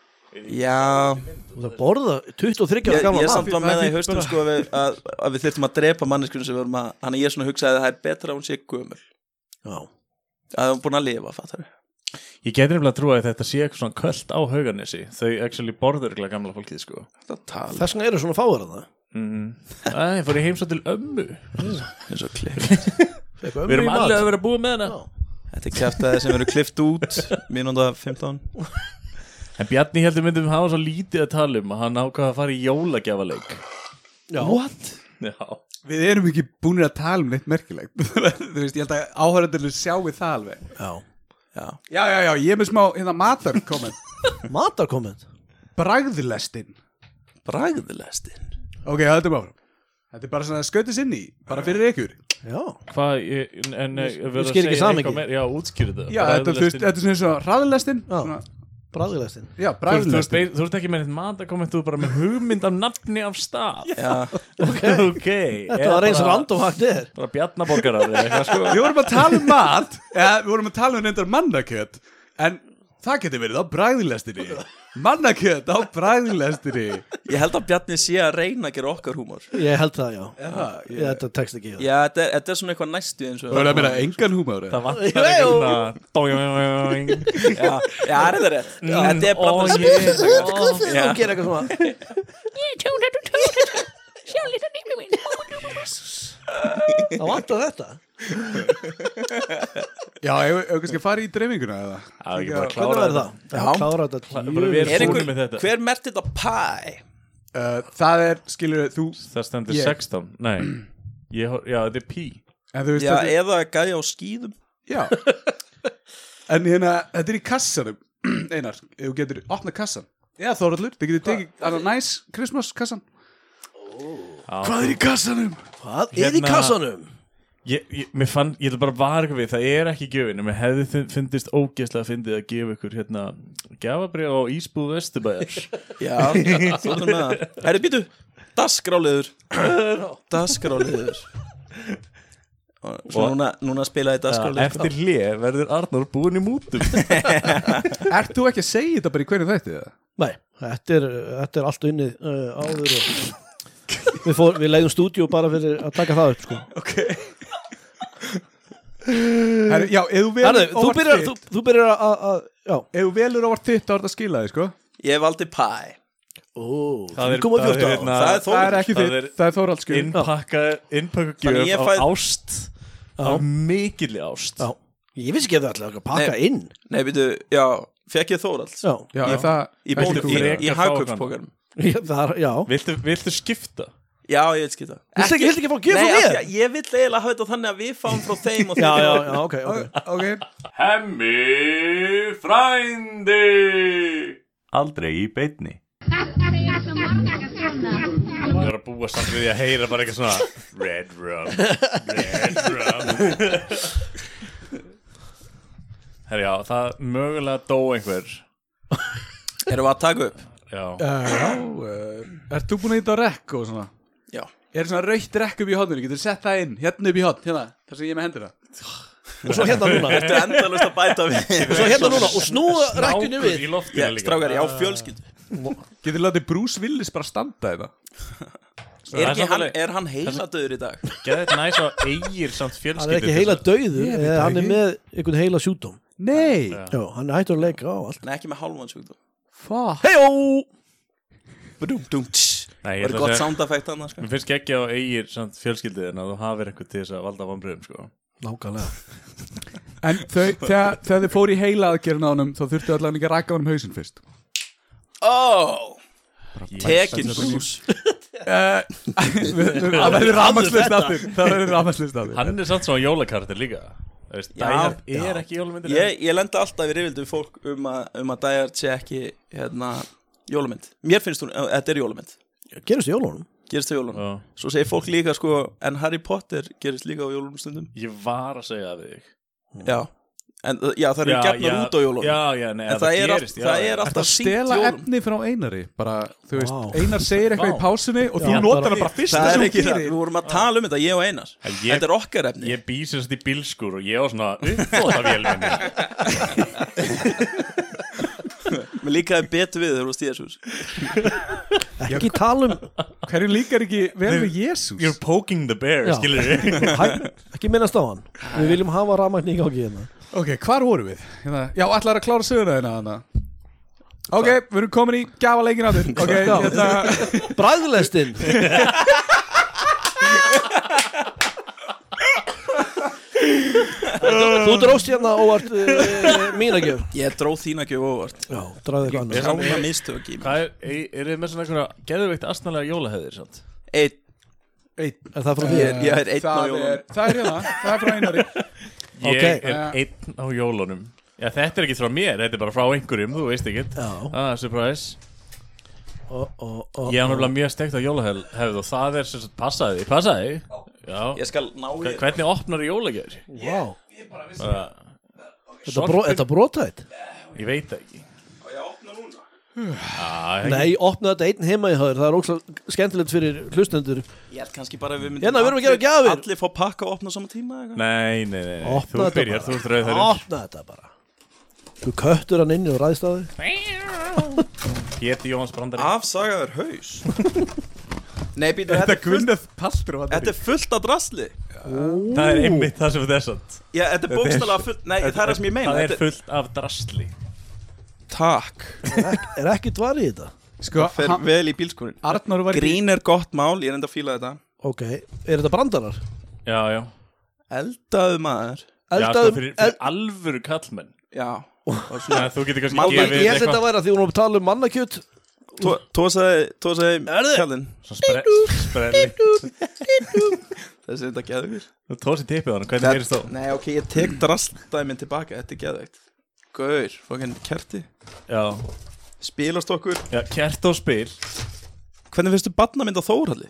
Speaker 2: Já,
Speaker 5: Þú ert að borða 23
Speaker 2: ég,
Speaker 5: ára gamla
Speaker 2: ég samt
Speaker 5: mann
Speaker 2: var með það í haustum sko að við, að, að við þyrftum að drepa manneskinu sem við vorum að Þannig að ég svona hugsaði að það er betra að hún sé gömul
Speaker 5: Já,
Speaker 2: Að hún búin að lifa, fattar við
Speaker 4: Ég geti nefnilega að trúa að þetta sé eitthvað svona kvöld á haugarnesi Þau actually borður ekki gamla fólkið sko
Speaker 2: Það tala
Speaker 5: þess vegna eru svona fáar að það
Speaker 4: mm. Æ, ég fór í heimsá til ömmu
Speaker 2: eins og klift
Speaker 5: Við
Speaker 4: Við erum allir að vera búið með hana
Speaker 2: Þetta er kjæftæði sem eru klift út mínúnda 15
Speaker 4: En Bjarni heldur myndum hafa svo lítið að tala um að hann ákvað að fara í jólagjafaleik
Speaker 5: What?
Speaker 4: Já
Speaker 3: Við erum ekki búin að tala um neitt merkilegt Þú veist, ég held að áhörðandur sjáu það alveg
Speaker 5: Já,
Speaker 2: Já,
Speaker 3: Já, já, já, ég er með smá, hérna, matarkomment
Speaker 5: matarkomment
Speaker 3: Bragðlestin
Speaker 2: bragðlestin
Speaker 3: Ok, höldum áfram Þetta er bara svona skautið sinni, bara fyrir ykkur
Speaker 5: Já,
Speaker 4: Hvað, ég- en, en ég verður
Speaker 5: skil
Speaker 4: að
Speaker 5: ekki
Speaker 4: segja
Speaker 5: samhengi.
Speaker 4: eitthvað meir Já, útskýrðu það
Speaker 3: Já, þetta, þú veist, þetta er svona eins og hraðlestin
Speaker 5: Já.
Speaker 3: svona-
Speaker 5: bræðilegstin
Speaker 3: Já,
Speaker 4: Þú veist, þú veist,
Speaker 3: bræðlestin
Speaker 4: þú veist ekki með neitt mat að koma Þú er bara með hugmynd af nafni af stað
Speaker 2: Já,
Speaker 4: Ok, okay.
Speaker 5: Þetta var eins random hægt er
Speaker 4: Bara bjarnaborgarar eða eitthvað sko
Speaker 3: Við vorum að tala um mat eða, Við vorum að tala um reyndar mannakjöt En það getur verið á bræðlestinni Mannakjöt á bræðlestinni
Speaker 2: ég held að Bjarni sé að reyna að gera okkar húmor
Speaker 5: Ég held það, já, ég, þetta tekst ekki
Speaker 2: Já, þetta er, þetta er svona eitthvað næstu eins og
Speaker 3: Það voru að meina engan húmur
Speaker 4: Það vantar
Speaker 5: Jú,
Speaker 4: eitthvað
Speaker 5: jú.
Speaker 4: svona Dóing, dóing, dóing.
Speaker 2: Já, já, er þetta rétt Þetta er
Speaker 4: Ó,
Speaker 2: bragðlestin
Speaker 4: ég-
Speaker 5: Hvað fyrir þú að gera eitthvað svona?
Speaker 6: Ég tjóna, þú tjóna, sjá lítið nýmið minn.
Speaker 5: Það vantar þetta
Speaker 3: Já, ef við kannski að fara í dreifinguna eða
Speaker 4: Það er ekki bara að
Speaker 5: Hvernig
Speaker 4: klára
Speaker 5: verður það? Já, klára þetta
Speaker 4: Bara
Speaker 2: Er
Speaker 4: við erum
Speaker 5: djöfull.
Speaker 4: fúnir með
Speaker 2: einhver,
Speaker 4: þetta
Speaker 2: hver merkt þetta pie?
Speaker 3: Uh, Það er, skilur þú
Speaker 4: Það stendur
Speaker 3: Ég.
Speaker 4: 16, nei ég, hor- Já, þetta er pí
Speaker 3: En þú veist,
Speaker 2: Já,
Speaker 3: þetta er-
Speaker 2: eða gæja á skýðum
Speaker 3: já En hérna, þetta er í kassanum Einar, ef þú getur opnað kassan Já, Þóraldur, þið getur tekið annað næs Christmas kassan
Speaker 5: Hvað er í kassanum? Hvað er í
Speaker 4: Hérna-
Speaker 5: kassanum?
Speaker 4: Ég, ég, mér fann, ég ætla bara að vara ykkur við, það er ekki gjöfin en mér hefði þi- fundist ógeðslega að fyndið að gefa ykkur hérna gafabrið á Ísbúð Vesturbæjar
Speaker 2: Já, þú erum með það Herri, býtu, dasgráliður Dasgráliður Og svo núna, núna spilaði dasgráliður
Speaker 4: Eftir hlið verður Arnór búin í mútum
Speaker 3: Ert þú ekki að segja þetta bara í hverju þætti? eða?
Speaker 5: Nei, þetta er, þetta er allt unnið uh, áður og við, fór, við leiðum stúdíu bara fyrir að taka það upp sko.
Speaker 3: Herru, já, ef þú
Speaker 5: Herðu,
Speaker 3: velur
Speaker 5: þú byrjar, þú, þú byrjar að, að, að já,
Speaker 3: Ef þú velur óvart þitt þá er þetta að skila þig, sko
Speaker 2: Ég valdi pæ
Speaker 5: ó,
Speaker 4: Það er- það
Speaker 5: 3,14.
Speaker 4: er hérna-
Speaker 2: Það er þó
Speaker 3: Það er ekki
Speaker 4: það
Speaker 3: þitt,
Speaker 4: er-
Speaker 3: það er Þóraldskjöf
Speaker 4: innpakka, innpakka
Speaker 2: Þannig ég
Speaker 4: gjöf
Speaker 2: fæ-
Speaker 4: á ást á mikilli ást
Speaker 5: Já. Ég vissi ekki að það ætlaði að pakka inn
Speaker 2: Nei, býtu, já, fekk ég Þóralds
Speaker 5: Já,
Speaker 3: Já, er það
Speaker 2: Í bónum,
Speaker 4: þú
Speaker 2: í,
Speaker 4: frekar
Speaker 2: í
Speaker 4: fá
Speaker 2: hagkaupspókarum
Speaker 5: Ég- það er, já
Speaker 4: viltu, viltu skipta?
Speaker 2: Já, ég vil skita
Speaker 5: Viltu ekki, viltu ekki fá að
Speaker 2: Nei, af
Speaker 5: gefa frá
Speaker 2: því
Speaker 5: mér?
Speaker 2: að ég vil eiginlega hafa þetta þannig að við fáum frá þeim og
Speaker 5: Já,
Speaker 2: þeim
Speaker 5: já, já, ok, ok
Speaker 3: Ok,
Speaker 7: Hemmi frændi Aldrei í beitni
Speaker 8: Segja svo marga svona.
Speaker 4: Ég er að búa samt við því að heyra bara eitthvað svona Red Rum Red Rum Herri já, það mögulega dó einhver
Speaker 2: Erum við að taka upp?
Speaker 4: Já,
Speaker 3: já, uh, ert þú búin að hýta á rekk og svona?
Speaker 2: Já
Speaker 3: Er svona raukt rekk upp í hotninu, getur sett það inn, hérna upp í hotn, hérna, þar sem ég er með hendur það
Speaker 5: Og svo hérna núna,
Speaker 2: Þetta er endalust að bæta
Speaker 5: og svo
Speaker 2: við
Speaker 5: hérna núna og snúa rækjunni
Speaker 4: Nákvæmlega
Speaker 5: við
Speaker 4: í loftinu
Speaker 2: Já,
Speaker 4: líka
Speaker 2: Strákar, já, fjölskyldu
Speaker 3: Getur látið Bruce Willis bara standa þetta
Speaker 2: Er, ekki
Speaker 4: Það er
Speaker 2: hann,
Speaker 4: samfélagi-
Speaker 2: er hann heiladöður í dag?
Speaker 4: Geða þetta næs að eigir samt
Speaker 5: Hann
Speaker 4: fjölskyldu
Speaker 5: er ekki heila döður
Speaker 3: Ég veit
Speaker 5: eða
Speaker 3: það
Speaker 5: hann er
Speaker 3: ekki.
Speaker 5: með einhvern heila sjúdóm
Speaker 3: Nei,
Speaker 5: Já, hann er hættur að leika á allt
Speaker 2: Nei, ekki með hálfansugdum
Speaker 3: fuck
Speaker 5: Hejó!
Speaker 2: Badum, dum, tss.
Speaker 4: Nei,
Speaker 2: Það er
Speaker 4: ég ætla
Speaker 2: gott
Speaker 4: að segja-
Speaker 2: sound effect annars sko.
Speaker 4: Mér finnst ekki á eigir samt fjölskyldu en að þú hafir eitthvað til þess að valda vambriðum sko
Speaker 5: Nákvæmlega
Speaker 3: En þau, þegar, þegar þið fóru í heila aðgerðin á honum, þá þurftu allan ekki að rækja honum hausinn fyrst
Speaker 2: Oh Tekin brús
Speaker 3: Það verður rafmagslist aftur, það verður rafmagslist aftur
Speaker 4: Hann er samt svona jólakartir líka Það veist,
Speaker 2: Já,
Speaker 4: Dæhard er ekki jólamyndir
Speaker 2: Ég, ég lenda alltaf í reyfildum fólk um að, um að Dæjar sé ekki hérna, jólumynd Mér finnst hún, eh, þetta er jólumynd
Speaker 5: Gerist í jólunum?
Speaker 2: Gerist það jólunum Svo segir fólk líka sko En Harry Potter gerist líka á jólunum stundum
Speaker 4: Ég var að segja það við þig
Speaker 2: Já En uh, já, það eru gefnar út á jólunum
Speaker 4: Já, já, nei,
Speaker 2: En það, er,
Speaker 4: gerist
Speaker 2: gerist, það er
Speaker 3: Ertu að
Speaker 2: alltaf sínt
Speaker 3: stela
Speaker 2: jólum
Speaker 3: efni frá Einari bara, þú veist,
Speaker 5: Vá.
Speaker 3: Einar segir eitthvað
Speaker 4: Vá.
Speaker 3: í pásunni og þú
Speaker 5: Já,
Speaker 3: notar
Speaker 5: bara-
Speaker 3: hana bara fyrst
Speaker 2: Það er ekki það, við vorum að tala um þetta, ég og Einar
Speaker 4: En ég-
Speaker 2: Þetta er okkar efni
Speaker 4: Ég býs þess að í bílskur og ég var svona uppfóðavélmenni
Speaker 2: Mér líkaði betur við þegar þú stíðast hús
Speaker 5: Ekki tala um
Speaker 3: Hverju líkar ekki vel við Jésús?
Speaker 4: You're poking the bear,
Speaker 5: Já.
Speaker 4: skilur við
Speaker 5: Hæ, ekki minnast á hann Við viljum hafa rafmagn í gangi hérna
Speaker 3: Ok, hvar vorum við? Hérna, já, ætlaður að klára söguna þeirna hana Ok, við erum komin í gafa leikin aftur Ok,
Speaker 5: Já.
Speaker 3: hérna
Speaker 5: Bræðlestin Þú dróst hérna óvart uh, mína gjöf
Speaker 2: Ég dró þína gjöf óvart
Speaker 5: Já, dræði eitthvað annað
Speaker 2: Rána mistök í mig
Speaker 4: Hvað er, e- eru þið með svona einhverja geðveikt astnalega jólaheðir samt?
Speaker 2: Einn,
Speaker 5: Er það frá þér?
Speaker 2: ég er einn á jólunum
Speaker 3: Eh, það er, það er hérna, það er frá Einari
Speaker 4: Ég
Speaker 5: Ok.
Speaker 4: er einn á jólunum Já, þetta er ekki frá mér, þetta er bara frá einhverjum, þú veist ekki
Speaker 5: Já
Speaker 4: Ah, surprise
Speaker 5: ó, ó, ó,
Speaker 4: Ég er náttúrulega mjög steikt á jólahefð og það er sem sagt, passaði, því, passaði því. Já
Speaker 2: Ég skal ná í
Speaker 4: Hvernig opnar jólagjör?
Speaker 5: Vá,
Speaker 4: Ég
Speaker 5: þetta bró- þetta brotætt
Speaker 4: veit það ekki
Speaker 2: Ég opna núna
Speaker 4: Já, ekki-
Speaker 5: Nei, opnaðu þetta einn heima í höður Það er ókslega skemmtilegt fyrir hlustendur
Speaker 2: Ég held kannski bara að við myndum
Speaker 5: Hérna, við erum að gera
Speaker 2: allir-
Speaker 5: gjafir.
Speaker 2: Allir fá pakka og opna á sama tíma eða eitthvað.
Speaker 4: Nei, nei, nei, nei.
Speaker 5: Opnaðu
Speaker 4: þú
Speaker 5: þetta
Speaker 4: byrjar,
Speaker 5: bara.
Speaker 4: þú ert rauð
Speaker 5: Opna þetta bara Þú köttur hann inni og ræðst á þig
Speaker 4: Pétur Jóhanns Brandari
Speaker 2: Afsagaður haus Nei, býta,
Speaker 3: Þetta
Speaker 2: þetta,
Speaker 3: er
Speaker 2: er fullt-
Speaker 3: Gunneth Paltur og
Speaker 2: þetta er fullt af drasli
Speaker 4: Það er einmitt það sem þetta er sant
Speaker 2: Já, þetta er bókstala fullt Nei, það er það sem ég meina
Speaker 4: Það er
Speaker 2: Þetta-
Speaker 4: fullt af drasli
Speaker 2: Takk
Speaker 5: Er ekki dvar í þetta?
Speaker 3: Sko,
Speaker 2: Fer
Speaker 3: hann-
Speaker 2: vel í bílskurinn
Speaker 3: Arnar var ekki
Speaker 2: Grín er gott mál, ég er enda að fíla þetta
Speaker 5: Ok, er þetta brandarar?
Speaker 4: Já, já
Speaker 2: Eldaðu maður
Speaker 4: Já, sko,
Speaker 5: Eldaðum,
Speaker 4: fyrir, fyrir alvöru kallmenn
Speaker 2: Já
Speaker 4: Þannig að þú
Speaker 2: Má-
Speaker 4: getur kannski
Speaker 5: Ég
Speaker 4: gefið
Speaker 5: ég held þetta væri að því hún var að tala um mannakjöt
Speaker 2: Tó- Tósaði, tósaði Kjallinn
Speaker 4: eitthvað Sprelli
Speaker 2: Þessi er þetta geðvík
Speaker 4: Þú tóðst í tippið á hann, hvernig gerist þó?
Speaker 2: Nei, ok, ég tek drastdæmin tilbaka Þetta er geðvíkt Gaur, fokkin kerti
Speaker 4: Já,
Speaker 2: Spilast okkur
Speaker 4: já kert og spil
Speaker 2: Hvernig finnstu badnamynd á Þórhalli?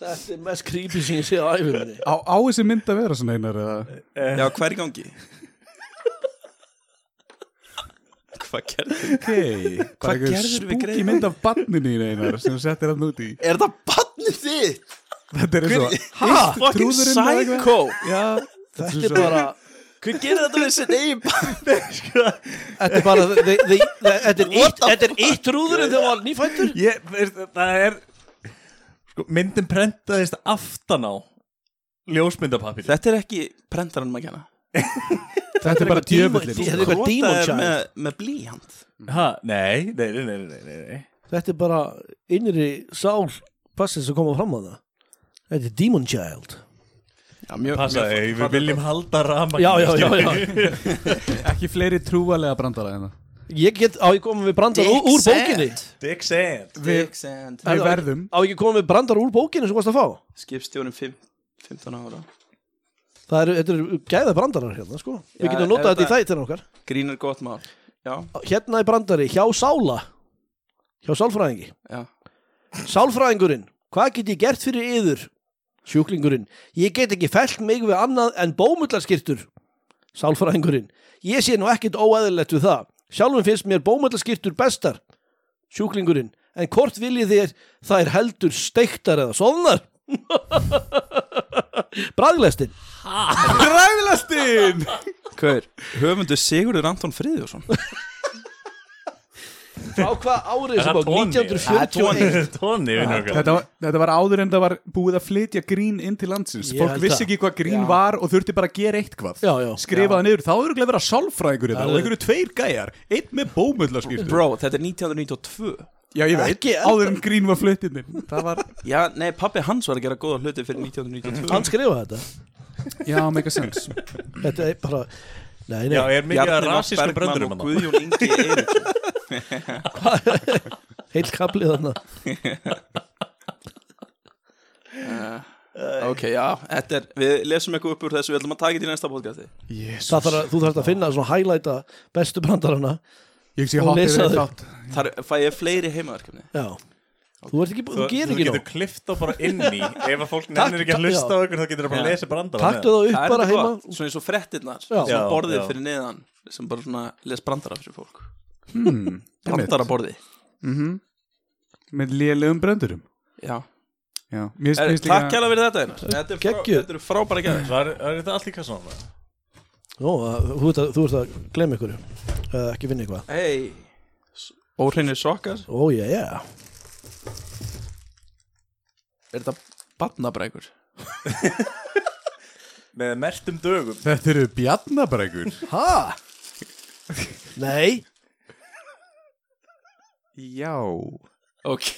Speaker 5: Þetta er mest creepy sem ég sé á æfuminni
Speaker 3: Á, á þessi mynd að vera svona einar eða
Speaker 2: Já, hver í gangi? Hvað gerðu?
Speaker 3: Ok, hvað
Speaker 2: gerðirðu við
Speaker 3: Spúki
Speaker 2: greyið?
Speaker 3: mynd af banninu í einar sem þú settir hann út í
Speaker 9: Er það barnið þitt?
Speaker 3: Þetta er eins og
Speaker 2: Hæ? Fucking
Speaker 3: trúðurinn eða eitthvað?
Speaker 2: psycho
Speaker 3: Já,
Speaker 5: Þetta er bara sko.
Speaker 9: Hver gerir þetta með sitt eigin barn?
Speaker 5: Þetta er bara the- the- the- Þetta er
Speaker 9: What
Speaker 5: eitt
Speaker 9: the
Speaker 5: Þetta er eitt rúðurinn þegar hann var nýfættur
Speaker 4: ég, veist, það er sko, myndin prentaðist aftan á ljósmyndapapir
Speaker 2: Þetta er ekki prentarinn maður kenna
Speaker 3: þetta er bara sko. djöfullin
Speaker 5: Þetta er eitthvað demon
Speaker 2: Krotaðir
Speaker 5: child
Speaker 2: með, með blíhand
Speaker 4: ha, nei, nei, nei, nei, nei, nei, nei.
Speaker 5: Þetta er bara innri sál passið sem koma fram að það Þetta er demon child
Speaker 2: Já, mjög
Speaker 4: passa,
Speaker 2: mjög-
Speaker 4: við viljum halda rama
Speaker 5: Já, já, já, já
Speaker 3: Ekki fleiri trúalega brandara en það
Speaker 5: Ég get á ég komið með brandar úr, úr bókinni
Speaker 4: Dick Sand
Speaker 2: Dick Sand
Speaker 3: Við verðum
Speaker 5: Á ég komið með brandar úr bókinni sem þú varst að fá
Speaker 2: Skipstjórin 15 ára
Speaker 5: Það eru, þetta eru gæða brandarar hérna sko Við
Speaker 2: Já,
Speaker 5: getum notað
Speaker 2: ef
Speaker 5: þetta í
Speaker 2: þetta-
Speaker 5: þættina okkar
Speaker 2: Grínur gott mál Já,
Speaker 5: Hérna er brandari hjá Sála Hjá sálfræðingi
Speaker 2: já
Speaker 5: Sálfræðingurinn, hvað get ég gert fyrir yður? Sjúklingurinn, ég get ekki fellt mig við annað en bómullarskirtur Sálfræðingurinn, ég sé nú ekkit óæðilegt við það Sjálfum finnst mér bómullarskirtur bestar Sjúklingurinn, en hvort viljið þér það er heldur steiktar eða soðnar? Bræðlæstinn
Speaker 3: Græðlastinn
Speaker 2: Hver? Höfundu Sigurður Anton Friðjórsson
Speaker 5: Frá hvað árið
Speaker 4: Er
Speaker 5: sem
Speaker 4: það
Speaker 5: bók
Speaker 4: tónið? Tóni,
Speaker 5: 1941
Speaker 4: tóni, vinur okkar.
Speaker 3: þetta, var- þetta var áður en það var búið að flytja grín inn til landsins
Speaker 5: Ég
Speaker 3: Fólk
Speaker 5: held
Speaker 3: vissi
Speaker 5: það.
Speaker 3: ekki hvað grín
Speaker 5: Já.
Speaker 3: var og þurfti bara að gera eitthvað
Speaker 5: Já, já.
Speaker 3: Skrifa það niður, þá eru glæð að vera sálfræðingur þetta
Speaker 5: Það
Speaker 3: Og
Speaker 5: er-
Speaker 3: einhverju tveir gæjar, einn með bómullarskýrtu
Speaker 2: Bro, þetta er 1992
Speaker 3: Já, ég veit,
Speaker 5: Ekki
Speaker 3: áður en grín var flyttinn inn. Það var,
Speaker 2: Já, nei, pappi hans var að gera góða hluti fyrir 1992
Speaker 5: Hann skrifaði þetta
Speaker 3: já, make a sense
Speaker 5: Þetta er bara Nei, nei,
Speaker 4: Já, er mikið að
Speaker 2: Bjarni Már
Speaker 4: rasískum
Speaker 2: Bergmann
Speaker 4: bröndurum
Speaker 2: og Guðjón Ingi Eiríksson
Speaker 5: heil kaplið þarna
Speaker 2: Ok, já, þetta er, við lesum eitthvað upp úr þessu Við ætlum að taka þetta í næsta podcasti
Speaker 5: Það þarf að, þú þarf að finna svona highlighta bestu brandarana
Speaker 3: Ég sé
Speaker 5: Og
Speaker 3: hoppið
Speaker 5: lesa
Speaker 3: við
Speaker 5: þau.
Speaker 3: þátt
Speaker 2: Þar fæ ég fleiri heimaverkefni
Speaker 5: Já Þú ert ekki, bú- þú gerir
Speaker 4: Þú
Speaker 5: ekki
Speaker 4: getur
Speaker 5: nóg
Speaker 4: klift þá bara inn í Ef að fólk nennir ekki að
Speaker 5: já.
Speaker 4: hlusta á ykkur þá getur það bara að
Speaker 2: Já.
Speaker 4: lesa brandara
Speaker 5: Taktu það upp
Speaker 2: Það er
Speaker 5: bara
Speaker 2: þetta
Speaker 5: heima
Speaker 2: gott, svona eins og frettirnar
Speaker 5: Já.
Speaker 2: Svona
Speaker 4: Já,
Speaker 2: borðið
Speaker 4: já.
Speaker 2: fyrir neðan Sem bara svona les brandara fyrir fólk Brandara borði
Speaker 3: Með lélegum bröndurum
Speaker 2: Já,
Speaker 3: Já, mér
Speaker 2: er,
Speaker 3: finnst
Speaker 2: takk
Speaker 3: líka
Speaker 2: hella fyrir þetta Einar. Þetta er frá-
Speaker 5: Geggjuð.
Speaker 2: þetta eru frábæra gæðir
Speaker 4: Var, var þetta allt í kassanum?
Speaker 5: Nú, að- þú ert að, þú ert að glemma ykkur uh, Ekki finna eitthvað
Speaker 2: Hei, óhreinir sokkar
Speaker 5: Ó, já, já
Speaker 2: Er þetta batnabrækur?
Speaker 4: Með mertum dögum
Speaker 3: Þetta eru bjarnabrækur
Speaker 5: Ha? Nei
Speaker 3: Já
Speaker 2: Ok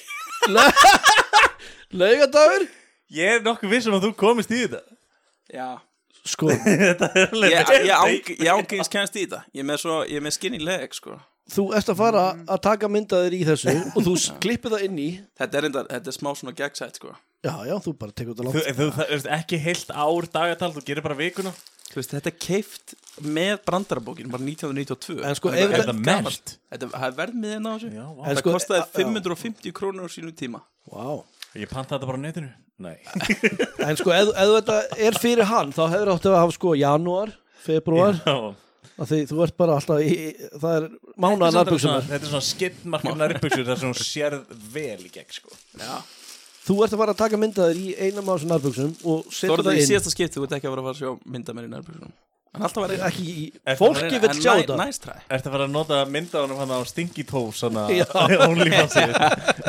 Speaker 5: Laugardafur?
Speaker 4: Ég er nokkuð vissum að þú komist í þetta
Speaker 2: Já
Speaker 5: Sko,
Speaker 2: Ég, ég, áng, ég ángengis kennst í þetta Ég er með, svo, ég er með skinny leg sko
Speaker 5: þú ert að fara að taka myndaðir í þessu og þú s- klippir það inn í
Speaker 2: Þetta er, enda, þetta er smá svona gegnsætt sko
Speaker 5: Já, já, þú bara tekur þetta
Speaker 4: Þú,
Speaker 5: langt
Speaker 4: þú það veist ekki heilt ár dagatal Þú gerir bara vikuna
Speaker 2: Þú veist, þetta er keift með brandarabókin bara 1992
Speaker 5: En sko,
Speaker 2: Þetta
Speaker 5: ef
Speaker 2: er
Speaker 5: þetta-
Speaker 2: gamalt. Þetta það er verðmiðin á þessu
Speaker 4: Já, vá.
Speaker 5: En
Speaker 2: Það
Speaker 5: sko,
Speaker 2: kostaði
Speaker 5: já.
Speaker 2: 550 krónur á sínum tíma
Speaker 5: Vá
Speaker 4: Ég panta þetta bara á netinu Nei
Speaker 5: En sko, ef, ef þetta er fyrir hann þá hefur átti að hafa sko janúar, februar
Speaker 4: Já.
Speaker 5: af því þú ert bara alltaf í, það er mánaða
Speaker 4: Þetta er svona-
Speaker 5: nærbuksunar
Speaker 4: þetta er svona skittmarkum nærbuksur þar sem hún sérð vel í gegn sko.
Speaker 5: þú ert að fara að taka myndaðir í einam af þessum nærbuksum og
Speaker 2: Þú
Speaker 5: setja
Speaker 2: voru
Speaker 5: það
Speaker 2: það í
Speaker 5: inn
Speaker 2: síðasta skipti, þú veit ekki að vera að fara að sjá mynda mér í nærbjörnum En alltaf var
Speaker 5: ekki í,
Speaker 4: Ef
Speaker 5: fólki
Speaker 4: það
Speaker 5: vill sjá þetta
Speaker 2: Næstræ
Speaker 4: Ertu að fara að nota mynda honum hann á Stinky Toes hann
Speaker 5: Já.
Speaker 4: að OnlyFansið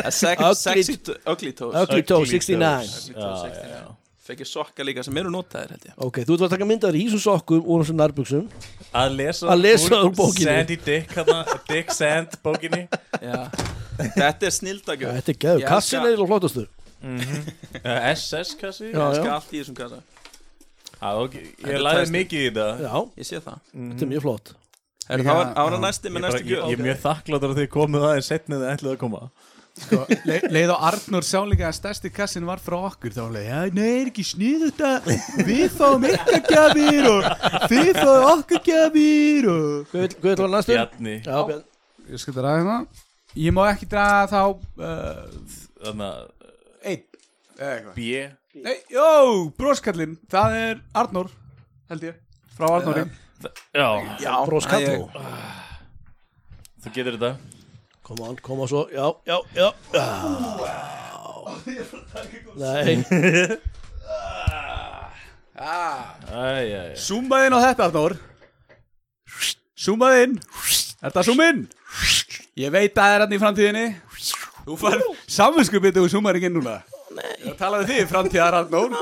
Speaker 2: Sex-
Speaker 5: Ugly-
Speaker 2: Sexy t- Ugly toes
Speaker 5: Ugly Toe
Speaker 4: Ugly
Speaker 5: 69
Speaker 4: Toes.
Speaker 2: Ugly toes, 69. Fekk ég sokka líka sem eru notaðir held ég
Speaker 5: ok, þú ert að taka myndaðir í þessum sokkum úr þessum nærbuksum
Speaker 4: Að lesa,
Speaker 5: Að lesa úr bókinni.
Speaker 4: Sandy Dick hana, Dick Sand bókinni
Speaker 2: Já. Þetta er snildagjöf
Speaker 5: þetta er gæður,
Speaker 2: Ég
Speaker 5: kassin
Speaker 2: elska-
Speaker 5: er eiginlega flottastur
Speaker 4: uh, SS kassi
Speaker 5: Já,
Speaker 4: já,
Speaker 2: Ég skal allt í þessum kassa
Speaker 4: ok, Ég
Speaker 2: er
Speaker 4: lagði
Speaker 2: tæsti.
Speaker 4: mikið í þetta
Speaker 5: já,
Speaker 2: Ég sé það
Speaker 5: þetta er mjög flott
Speaker 2: Er það var- það var að næsti með
Speaker 4: Bara,
Speaker 2: næstu
Speaker 4: ég, ég
Speaker 2: gjöf
Speaker 4: er mjög þakkláttur að þið komið aðeins setnið að ætlaði að koma
Speaker 3: sko, le Leið á Arnór sá líka að stærsti kassin var frá okkur Þá var leið, já, nei, er ekki snið þetta Við fáum ykkar gjafir og Þið fáum okkar gjafir og
Speaker 5: hvað vil var næstur?
Speaker 4: Bjarni
Speaker 5: já, Björn.
Speaker 3: Ég skal þetta ræða það hérna. Ég má ekki draga þá uh,
Speaker 4: Þannig að
Speaker 3: Einn Eða eitthvað
Speaker 4: B
Speaker 3: Nei, jó, broskallinn Það er Arnór, held ég Eh, Frá Arnóri
Speaker 4: Já,
Speaker 5: Já, Bros Kalló
Speaker 4: þú getur þetta
Speaker 5: Koma hann, koma svo, já, já, já Já. Nei,
Speaker 4: Æ, æ, æ
Speaker 3: Súmaði inn á þetta, Arnór Súmaði inn Er það inn? Ég veit að það er hann í framtíðinni Þú fær samvinskupið Þú súmar ekki inn núna Ég talaði við þig, framtíðar Arnór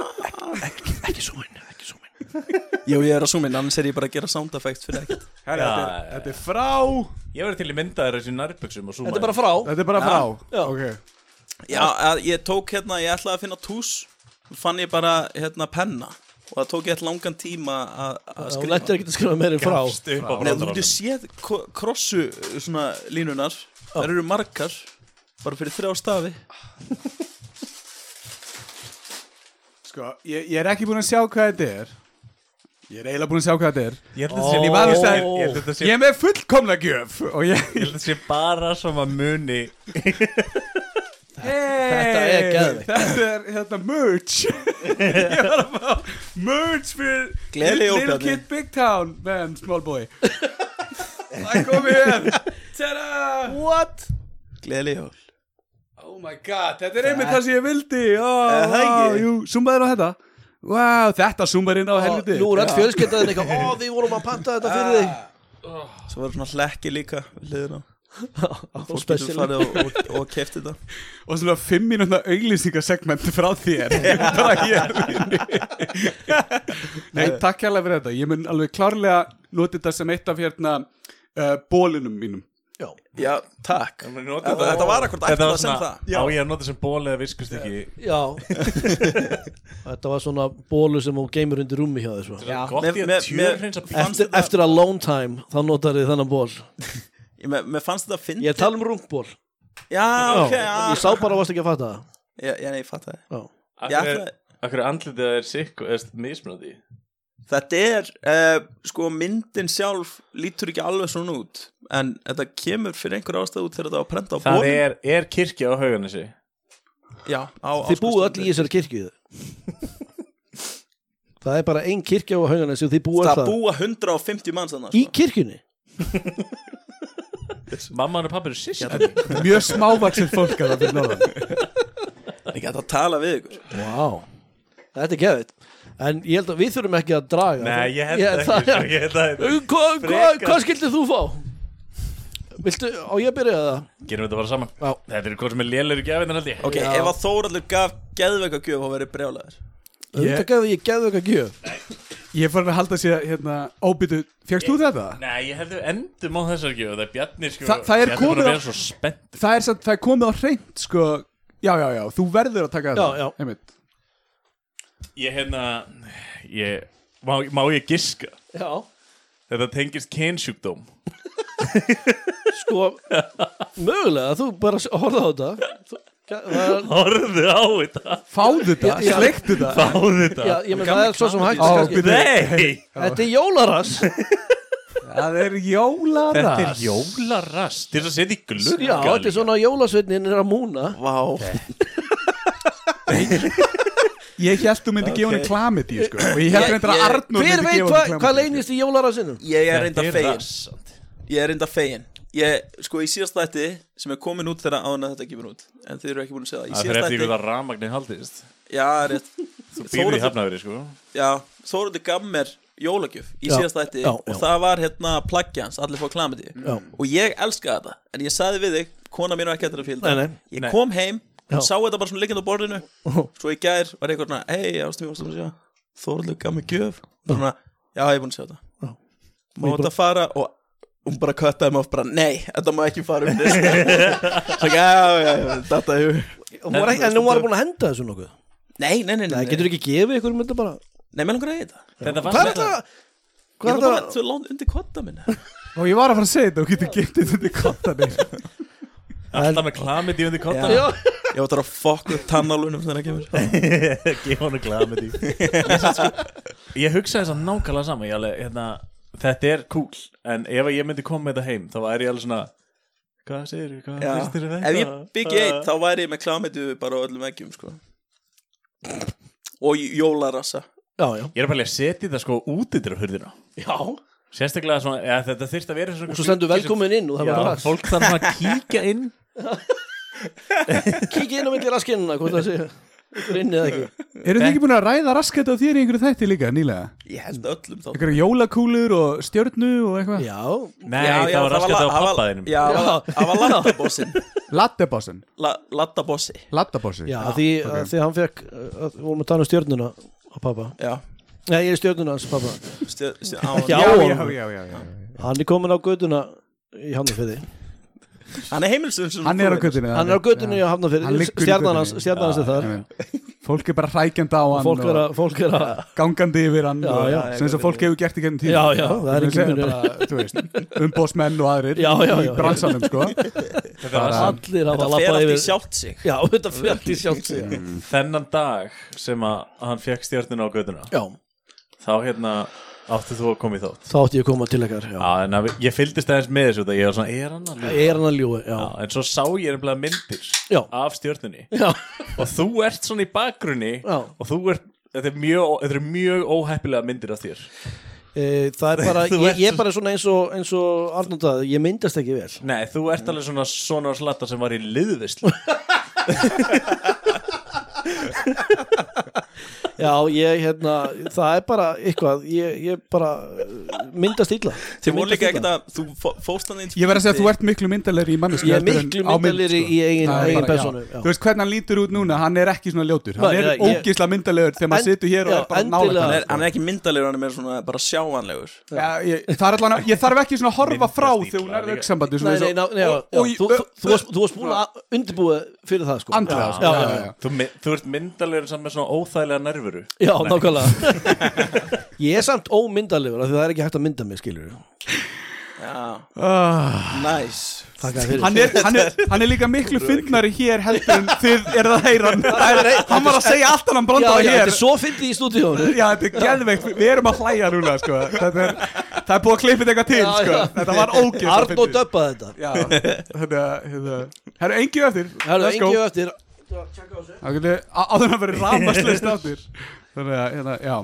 Speaker 2: Ekki súmin, ekki súmin Jú, ég er að súmin, annars er ég bara að gera sound effect fyrir ekkert
Speaker 3: Herra,
Speaker 4: Já,
Speaker 3: þetta,
Speaker 4: já,
Speaker 3: er, þetta er frá
Speaker 4: Ég verði til í mynda þér þessi nærbuxum og súma
Speaker 5: þetta er bara frá
Speaker 3: Þetta er bara frá okay.
Speaker 2: Já, að ég tók hérna, ég ætlaði að finna tús Fann ég bara, hérna, penna Og það tók ég eitthvað langan tíma að að
Speaker 5: Þú
Speaker 2: skrifa
Speaker 5: lentir ekki að skrifa meira en frá
Speaker 4: upp á
Speaker 2: Nei, þú getur
Speaker 4: brandaranum
Speaker 2: séð ko- krossu svona línunar Þær eru margar Bara fyrir þrjá stafi
Speaker 3: Sko, ég, ég er ekki búin að sjá hvað þetta er Ég er eiginlega búin að sjá hvað þetta er
Speaker 4: Ég held að þetta sé
Speaker 3: Ég
Speaker 4: líka
Speaker 3: var
Speaker 4: Ég
Speaker 3: að
Speaker 4: held
Speaker 3: segja-
Speaker 4: að þetta sé-
Speaker 3: Ég er með fullkomna gjöf Og ég
Speaker 4: ég held að þetta sé bara sem að muni
Speaker 3: Þetta
Speaker 5: er geðveikt.
Speaker 3: Þetta er hérna merch Ég var að fá merch fyrir
Speaker 2: Gleðileg jól,
Speaker 3: Little
Speaker 2: Bjarni.
Speaker 3: Kid Big Town Man, small boy Það kom hér Tada What?
Speaker 2: Gleðileg jól
Speaker 3: Oh my god, þetta er einmitt það sem ég vildi oh,
Speaker 2: Eh, það
Speaker 3: wow,
Speaker 2: ekki.
Speaker 3: Jú, zoomaður á þetta Wow, þetta zoomaður inn á helviti
Speaker 5: Nú er all fjölskyldaðin eitthvað Ó, við vorum að panta þetta fyrir þig
Speaker 2: Svo var svona hlekki líka við hliðina
Speaker 5: Og
Speaker 2: Fólk getur
Speaker 5: spesial
Speaker 2: farið og, og, og kefti þetta
Speaker 3: Og svona fimm mínúna auglýsingasegment frá þér Bara hér Nei, takk hérlega fyrir þetta Ég mun alveg klárlega nota þetta sem eitt af hérna uh, bólunum mínum
Speaker 2: Já, takk
Speaker 4: Þetta
Speaker 2: Þetta var akkur ætlað að sem
Speaker 4: svona,
Speaker 2: það
Speaker 4: á ég að nota sem ból eða viskust ekki
Speaker 5: Já Þetta var svona bólu sem hún geymur undir rúmi hjá þér svo
Speaker 4: Gott
Speaker 2: Mér-
Speaker 4: ég
Speaker 2: mér-
Speaker 4: að tjörnreins að
Speaker 2: mér-
Speaker 4: píl
Speaker 2: Fannst
Speaker 5: Eftir,
Speaker 2: þetta-
Speaker 5: eftir að lone time, þá notar þið þennan ból
Speaker 2: Ég- Mér mér fannst þetta að
Speaker 5: Ég er að tala um rungból
Speaker 2: Já, ok,
Speaker 5: Ég
Speaker 2: já
Speaker 5: sá bara að varst ekki að fatta það
Speaker 2: Já, já, nei, ég fatt það
Speaker 5: Já.
Speaker 2: Ég ætlaði
Speaker 4: Akkur andlitið er sikk og er mismunandi
Speaker 2: Þetta er, uh, sko, myndin sjálf lítur ekki alveg svona út en þetta kemur fyrir einhver ástæð út þegar þetta var að prenta á
Speaker 4: Það
Speaker 2: bólum.
Speaker 4: er, er kirkja á hauganessi
Speaker 2: Já, á
Speaker 5: Þið búið
Speaker 2: Ásgarðsströndinni.
Speaker 5: öll í þessari kirkju Það er bara ein kirkja á haugan sem þið búið
Speaker 2: Það
Speaker 5: það
Speaker 2: búa 150 manns annars
Speaker 5: Í kirkjunni?
Speaker 4: Mamman og pappi eru sýst
Speaker 3: Mjög smávaksinn fólk að það fyrir náðan
Speaker 2: sko. Ég gæti að tala við ykkur
Speaker 5: Vá Þetta er gefitt En ég held að við þurfum ekki að draga
Speaker 4: Nei, ég held ekki sko.
Speaker 5: það-
Speaker 4: svo, Ég held að
Speaker 5: Um, Hvað hva,
Speaker 4: Frekar.
Speaker 5: hva skildir þú fá? Viltu, á ég að byrja það?
Speaker 4: Gerum þetta bara saman
Speaker 5: Já.
Speaker 4: Þetta er hvað sem er lélegur gefið þannig held ég
Speaker 2: Ok, ef að Þóraldur gaf geðveika gjöf og verið brjálæður
Speaker 5: Þetta gæði ég gæði eitthvað gjöf
Speaker 3: Ég fann að halda sér hérna Óbyttu, fegst þú þetta?
Speaker 4: Nei, ég held við endum á þessar gjöf Það er Bjarni sko
Speaker 3: Þa- það er
Speaker 4: Bjarni búinn
Speaker 3: komið
Speaker 4: að
Speaker 3: á-
Speaker 4: vera svo spennt
Speaker 3: Það er, samt, það er komið á hreint sko Já, já, já, þú verður að taka þetta
Speaker 5: já.
Speaker 3: Einmitt.
Speaker 4: Ég hérna ég, má, má ég giska
Speaker 5: Já
Speaker 4: Þetta tengist kynsjúkdóm
Speaker 5: Sko, mögulega, þú bara horfða á þetta Þú- það-
Speaker 4: Horðu á þetta
Speaker 3: Fáðu þetta,
Speaker 5: Já, já.
Speaker 3: sleiktu þetta
Speaker 4: Fáðu þetta
Speaker 5: Já, ég menn það er svo sem hægt
Speaker 3: Ó,
Speaker 5: kannski.
Speaker 3: byrju.
Speaker 4: Nei
Speaker 5: Þetta er jólarass
Speaker 3: Það er jólaras
Speaker 4: Þetta er jólarast Til þess að setja í glugga
Speaker 5: Já, þetta er
Speaker 4: líka.
Speaker 5: svona jólasveitnin er að múna
Speaker 2: Vá,
Speaker 3: Ég held þú myndi gefa henni klamið í sko Og ég held
Speaker 5: Ég-
Speaker 3: reyndar að
Speaker 5: ég-
Speaker 3: Arnur
Speaker 5: Hver
Speaker 3: myndi
Speaker 5: veit
Speaker 3: gefa
Speaker 5: hva,
Speaker 3: henni
Speaker 5: hvað
Speaker 3: klamydíu.
Speaker 5: leynist í jólarassinum?
Speaker 2: ég er reynda
Speaker 4: Þetta er
Speaker 2: fegin
Speaker 4: rass samt.
Speaker 2: Ég er reynda fegin Ég, sko, í síðast þætti sem er komin út þegar ána þetta kemur út en þið eru ekki búin að segja það Í
Speaker 4: Það fyrir
Speaker 2: síðast
Speaker 4: eftir
Speaker 2: þætti,
Speaker 4: hvað rafmagnir haldist
Speaker 2: já, rétt
Speaker 4: Býrði í
Speaker 2: Þórhallur-
Speaker 4: hafnafyrir sko
Speaker 2: Já, Þóraldur gaf mér jólagjöf í
Speaker 5: Já,
Speaker 2: síðast þætti
Speaker 5: já, já.
Speaker 2: og það var hérna plaggi hans, allir fá klamiti og ég elskaði þetta, en ég sagði við þig kona mín var ekki eftir að fíla
Speaker 5: Nei,
Speaker 2: þetta.
Speaker 5: nei.
Speaker 2: ég
Speaker 4: Nei.
Speaker 2: kom heim,
Speaker 5: Já.
Speaker 2: hún sá þetta bara svona liggjandi á borðinu svo í gær var eitthvað svona hei, ástum ég ástum að sjá Þóraldur gaf mér gjöf og svona, já, ég er búin að sjá
Speaker 5: Já.
Speaker 2: þetta má þetta fara og hún bara köttaði mig oft bara, nei, þetta má ekki fara um lista svo ekki, já, já, já, þetta er
Speaker 5: Hún var ekki- En hún var búin að henda þessu nokkuð
Speaker 2: nei, nei, nei, nei,
Speaker 5: Nei, getur ekki gefið ykkur um þetta bara
Speaker 2: nei, mér langar að heita
Speaker 4: Þetta var
Speaker 5: Hvað er þetta?
Speaker 2: Ég
Speaker 5: Hvað
Speaker 2: er
Speaker 5: er
Speaker 2: bara
Speaker 5: þetta?
Speaker 2: svo langt undir kotta minna
Speaker 3: Og ég var að fara að segja þetta, þú getur gemt þetta undir kottanir
Speaker 4: alltaf með klamið í undir kottan
Speaker 5: Já,
Speaker 2: Ég var það að fokk upp tannálunum þegar það kemur
Speaker 4: Gef honum glamidi sko- Ég hugsaði þess að nákvæmlega sama Ég alveg, hérna, Þetta er cool En ef að ég myndi koma með þetta heim Þá væri ég alveg svona Hvað segir þið? Hvað
Speaker 2: Já.
Speaker 4: finnst þér þetta?
Speaker 2: Ef ég byggi einn þá væri ég með klámiðu bara á öllum eggjum sko. Og jólarassa
Speaker 5: já, já,
Speaker 4: Ég er bara að setja þetta sko út yfir hurðina
Speaker 5: já
Speaker 4: Sérstaklega svona, eða þetta þyrst að vera svona
Speaker 5: og svo stendur
Speaker 4: gluggi sem-
Speaker 5: velkomin inn og það
Speaker 4: Já,
Speaker 5: var rass
Speaker 4: fólk þarf að kíkja inn
Speaker 5: kikið inn á milli raskinnuna, hvað það segja ykkur inn eða ekki
Speaker 3: Eru þið ekki búin að ræða raskat á þér í einhverju þætti líka nýlega?
Speaker 2: Ég held öllum þá
Speaker 3: Einhverju jólakúlur og stjörnu og eitthvað?
Speaker 5: já,
Speaker 4: Nei, það var raskat á pappaðinum
Speaker 2: Já, það var- það var laddabossin
Speaker 3: Lattebossin
Speaker 2: La- Laddabossi
Speaker 3: Lattabossi
Speaker 5: já, því okay. því hann fekk uh, að- vorum að tala um stjörnuna á pappa
Speaker 2: Já,
Speaker 5: nei, ég er stjörnuna hans pappa
Speaker 2: stjö- stjö- á-
Speaker 5: Ekki á-
Speaker 3: já,
Speaker 5: Já,
Speaker 3: já, já, já, já.
Speaker 5: hann er komin á göduna í Hafnarfyrði
Speaker 2: hann er heimilsum
Speaker 3: Hann er á göttinu
Speaker 5: hann er á gödunni í
Speaker 3: Hann
Speaker 5: Hafnarfyrði
Speaker 3: liggur í
Speaker 5: stjarnan hans
Speaker 3: götunni.
Speaker 5: stjarnan hans er þar
Speaker 3: Fólk er bara hrækjandi á
Speaker 5: Og
Speaker 3: hann
Speaker 5: fólk er að, fólk er að
Speaker 3: gangandi yfir hann
Speaker 5: Já,
Speaker 3: og-
Speaker 5: já.
Speaker 3: sem þess að fólk hefur gert í gennum tíð
Speaker 5: Já, já, það er engin munur.
Speaker 3: munur umbósmenn og aðrir
Speaker 5: Já, já, já,
Speaker 3: í bransanum sko bara,
Speaker 5: allir hafa
Speaker 2: Þetta fer
Speaker 5: lappað
Speaker 2: allt í
Speaker 5: yfir
Speaker 2: sjálft sig
Speaker 5: já, þetta fer allt í sjálft sig
Speaker 3: Mm.
Speaker 4: Þennan dag sem að hann fekk stjórnuna á göduna
Speaker 5: já,
Speaker 4: Þá hérna átti þú að koma í þátt
Speaker 5: þá átti ég að koma til ykkar já.
Speaker 4: Já, en að, ég fylgdist aðeins með þessu þetta Ég var svona, er hann að ljúga?
Speaker 5: ég er hann að ljúi já,
Speaker 4: Já, en svo sá ég nefnilega myndir
Speaker 5: Já.
Speaker 4: af stjórnunni
Speaker 5: já,
Speaker 4: og þú ert svona í bakgrunni
Speaker 5: Já.
Speaker 4: og þú ert Þetta er mjög, þetta er mjög óheppilega myndir af þér
Speaker 5: E, það er bara,
Speaker 4: Þú
Speaker 5: ég,
Speaker 4: ert-
Speaker 5: ég er bara svona eins og, eins og Arnóndað, ég myndast ekki vel
Speaker 4: Nei, þú ert alveg svona svona slatta sem var í liðvislu
Speaker 5: já, ég, hérna, það er bara eitthvað, ég, ég bara eh, myndast illa
Speaker 2: Þið voru líka
Speaker 5: Myndast
Speaker 2: ekkert
Speaker 5: illa.
Speaker 2: að Þú fó- fórst hann inn
Speaker 3: ég verð að segja að þú ert miklu myndalegri í mannesku
Speaker 5: Ég er miklu myndarlegri
Speaker 3: sko.
Speaker 5: í eigin- eigin persónu, já.
Speaker 3: þú veist hvernig hann lítur út núna, hann er ekki svona ljótur hann
Speaker 5: Nei,
Speaker 3: er
Speaker 5: nei, ég-
Speaker 3: ógisla myndalegur þegar maður
Speaker 5: En-
Speaker 3: situr hér og
Speaker 5: já,
Speaker 3: er bara nálega
Speaker 5: endilega.
Speaker 2: hann, er- hann er ekki myndalegur, hann er meira svona bara sjáanlegur
Speaker 3: Já, ég, það er allan að, ég þarf ekki svona að horfa frá
Speaker 4: Myndast
Speaker 3: þegar hún
Speaker 4: illa
Speaker 3: er
Speaker 4: líka.
Speaker 3: auksambandi
Speaker 5: Nei, nei, ná, nei, já, já,
Speaker 3: Oj,
Speaker 5: þú,
Speaker 3: ö,
Speaker 5: þú, þú, varst- þú varst búin að undirbúa fyrir það sko
Speaker 3: andlega,
Speaker 5: já,
Speaker 3: sko,
Speaker 5: já,
Speaker 3: já,
Speaker 5: já.
Speaker 3: já.
Speaker 4: þú, mi- þú ert myndalegur saman með svona óþægilega nervuru
Speaker 5: Já, nákvæmlega Ég er samt ómyndalegur af því það er ekki hægt að mynda mig, skilur
Speaker 2: Já,
Speaker 3: Ah.
Speaker 2: næs
Speaker 5: Takk að fyrir
Speaker 3: hann er, hann, er, hann er líka miklu fyndnari hér heldur en þið er það heyran hann var að segja allt annan
Speaker 5: Já,
Speaker 3: brandara
Speaker 5: já,
Speaker 3: hér
Speaker 5: þetta er svo fyndið í stúdíónu
Speaker 3: já, þetta er geðveikt, við erum að hlæja núna sko. þetta er, það er búið að klippa þetta eitthvað til
Speaker 5: Já,
Speaker 3: sko.
Speaker 5: já.
Speaker 3: þetta var ógeð
Speaker 5: Arnó döppaði þetta
Speaker 3: þetta það eru engið eftir
Speaker 5: Það
Speaker 3: Let's
Speaker 5: er
Speaker 3: go.
Speaker 5: engi eftir
Speaker 3: Þá getur- á- áður en að vera rámaslust áttir þannig að, hérna, já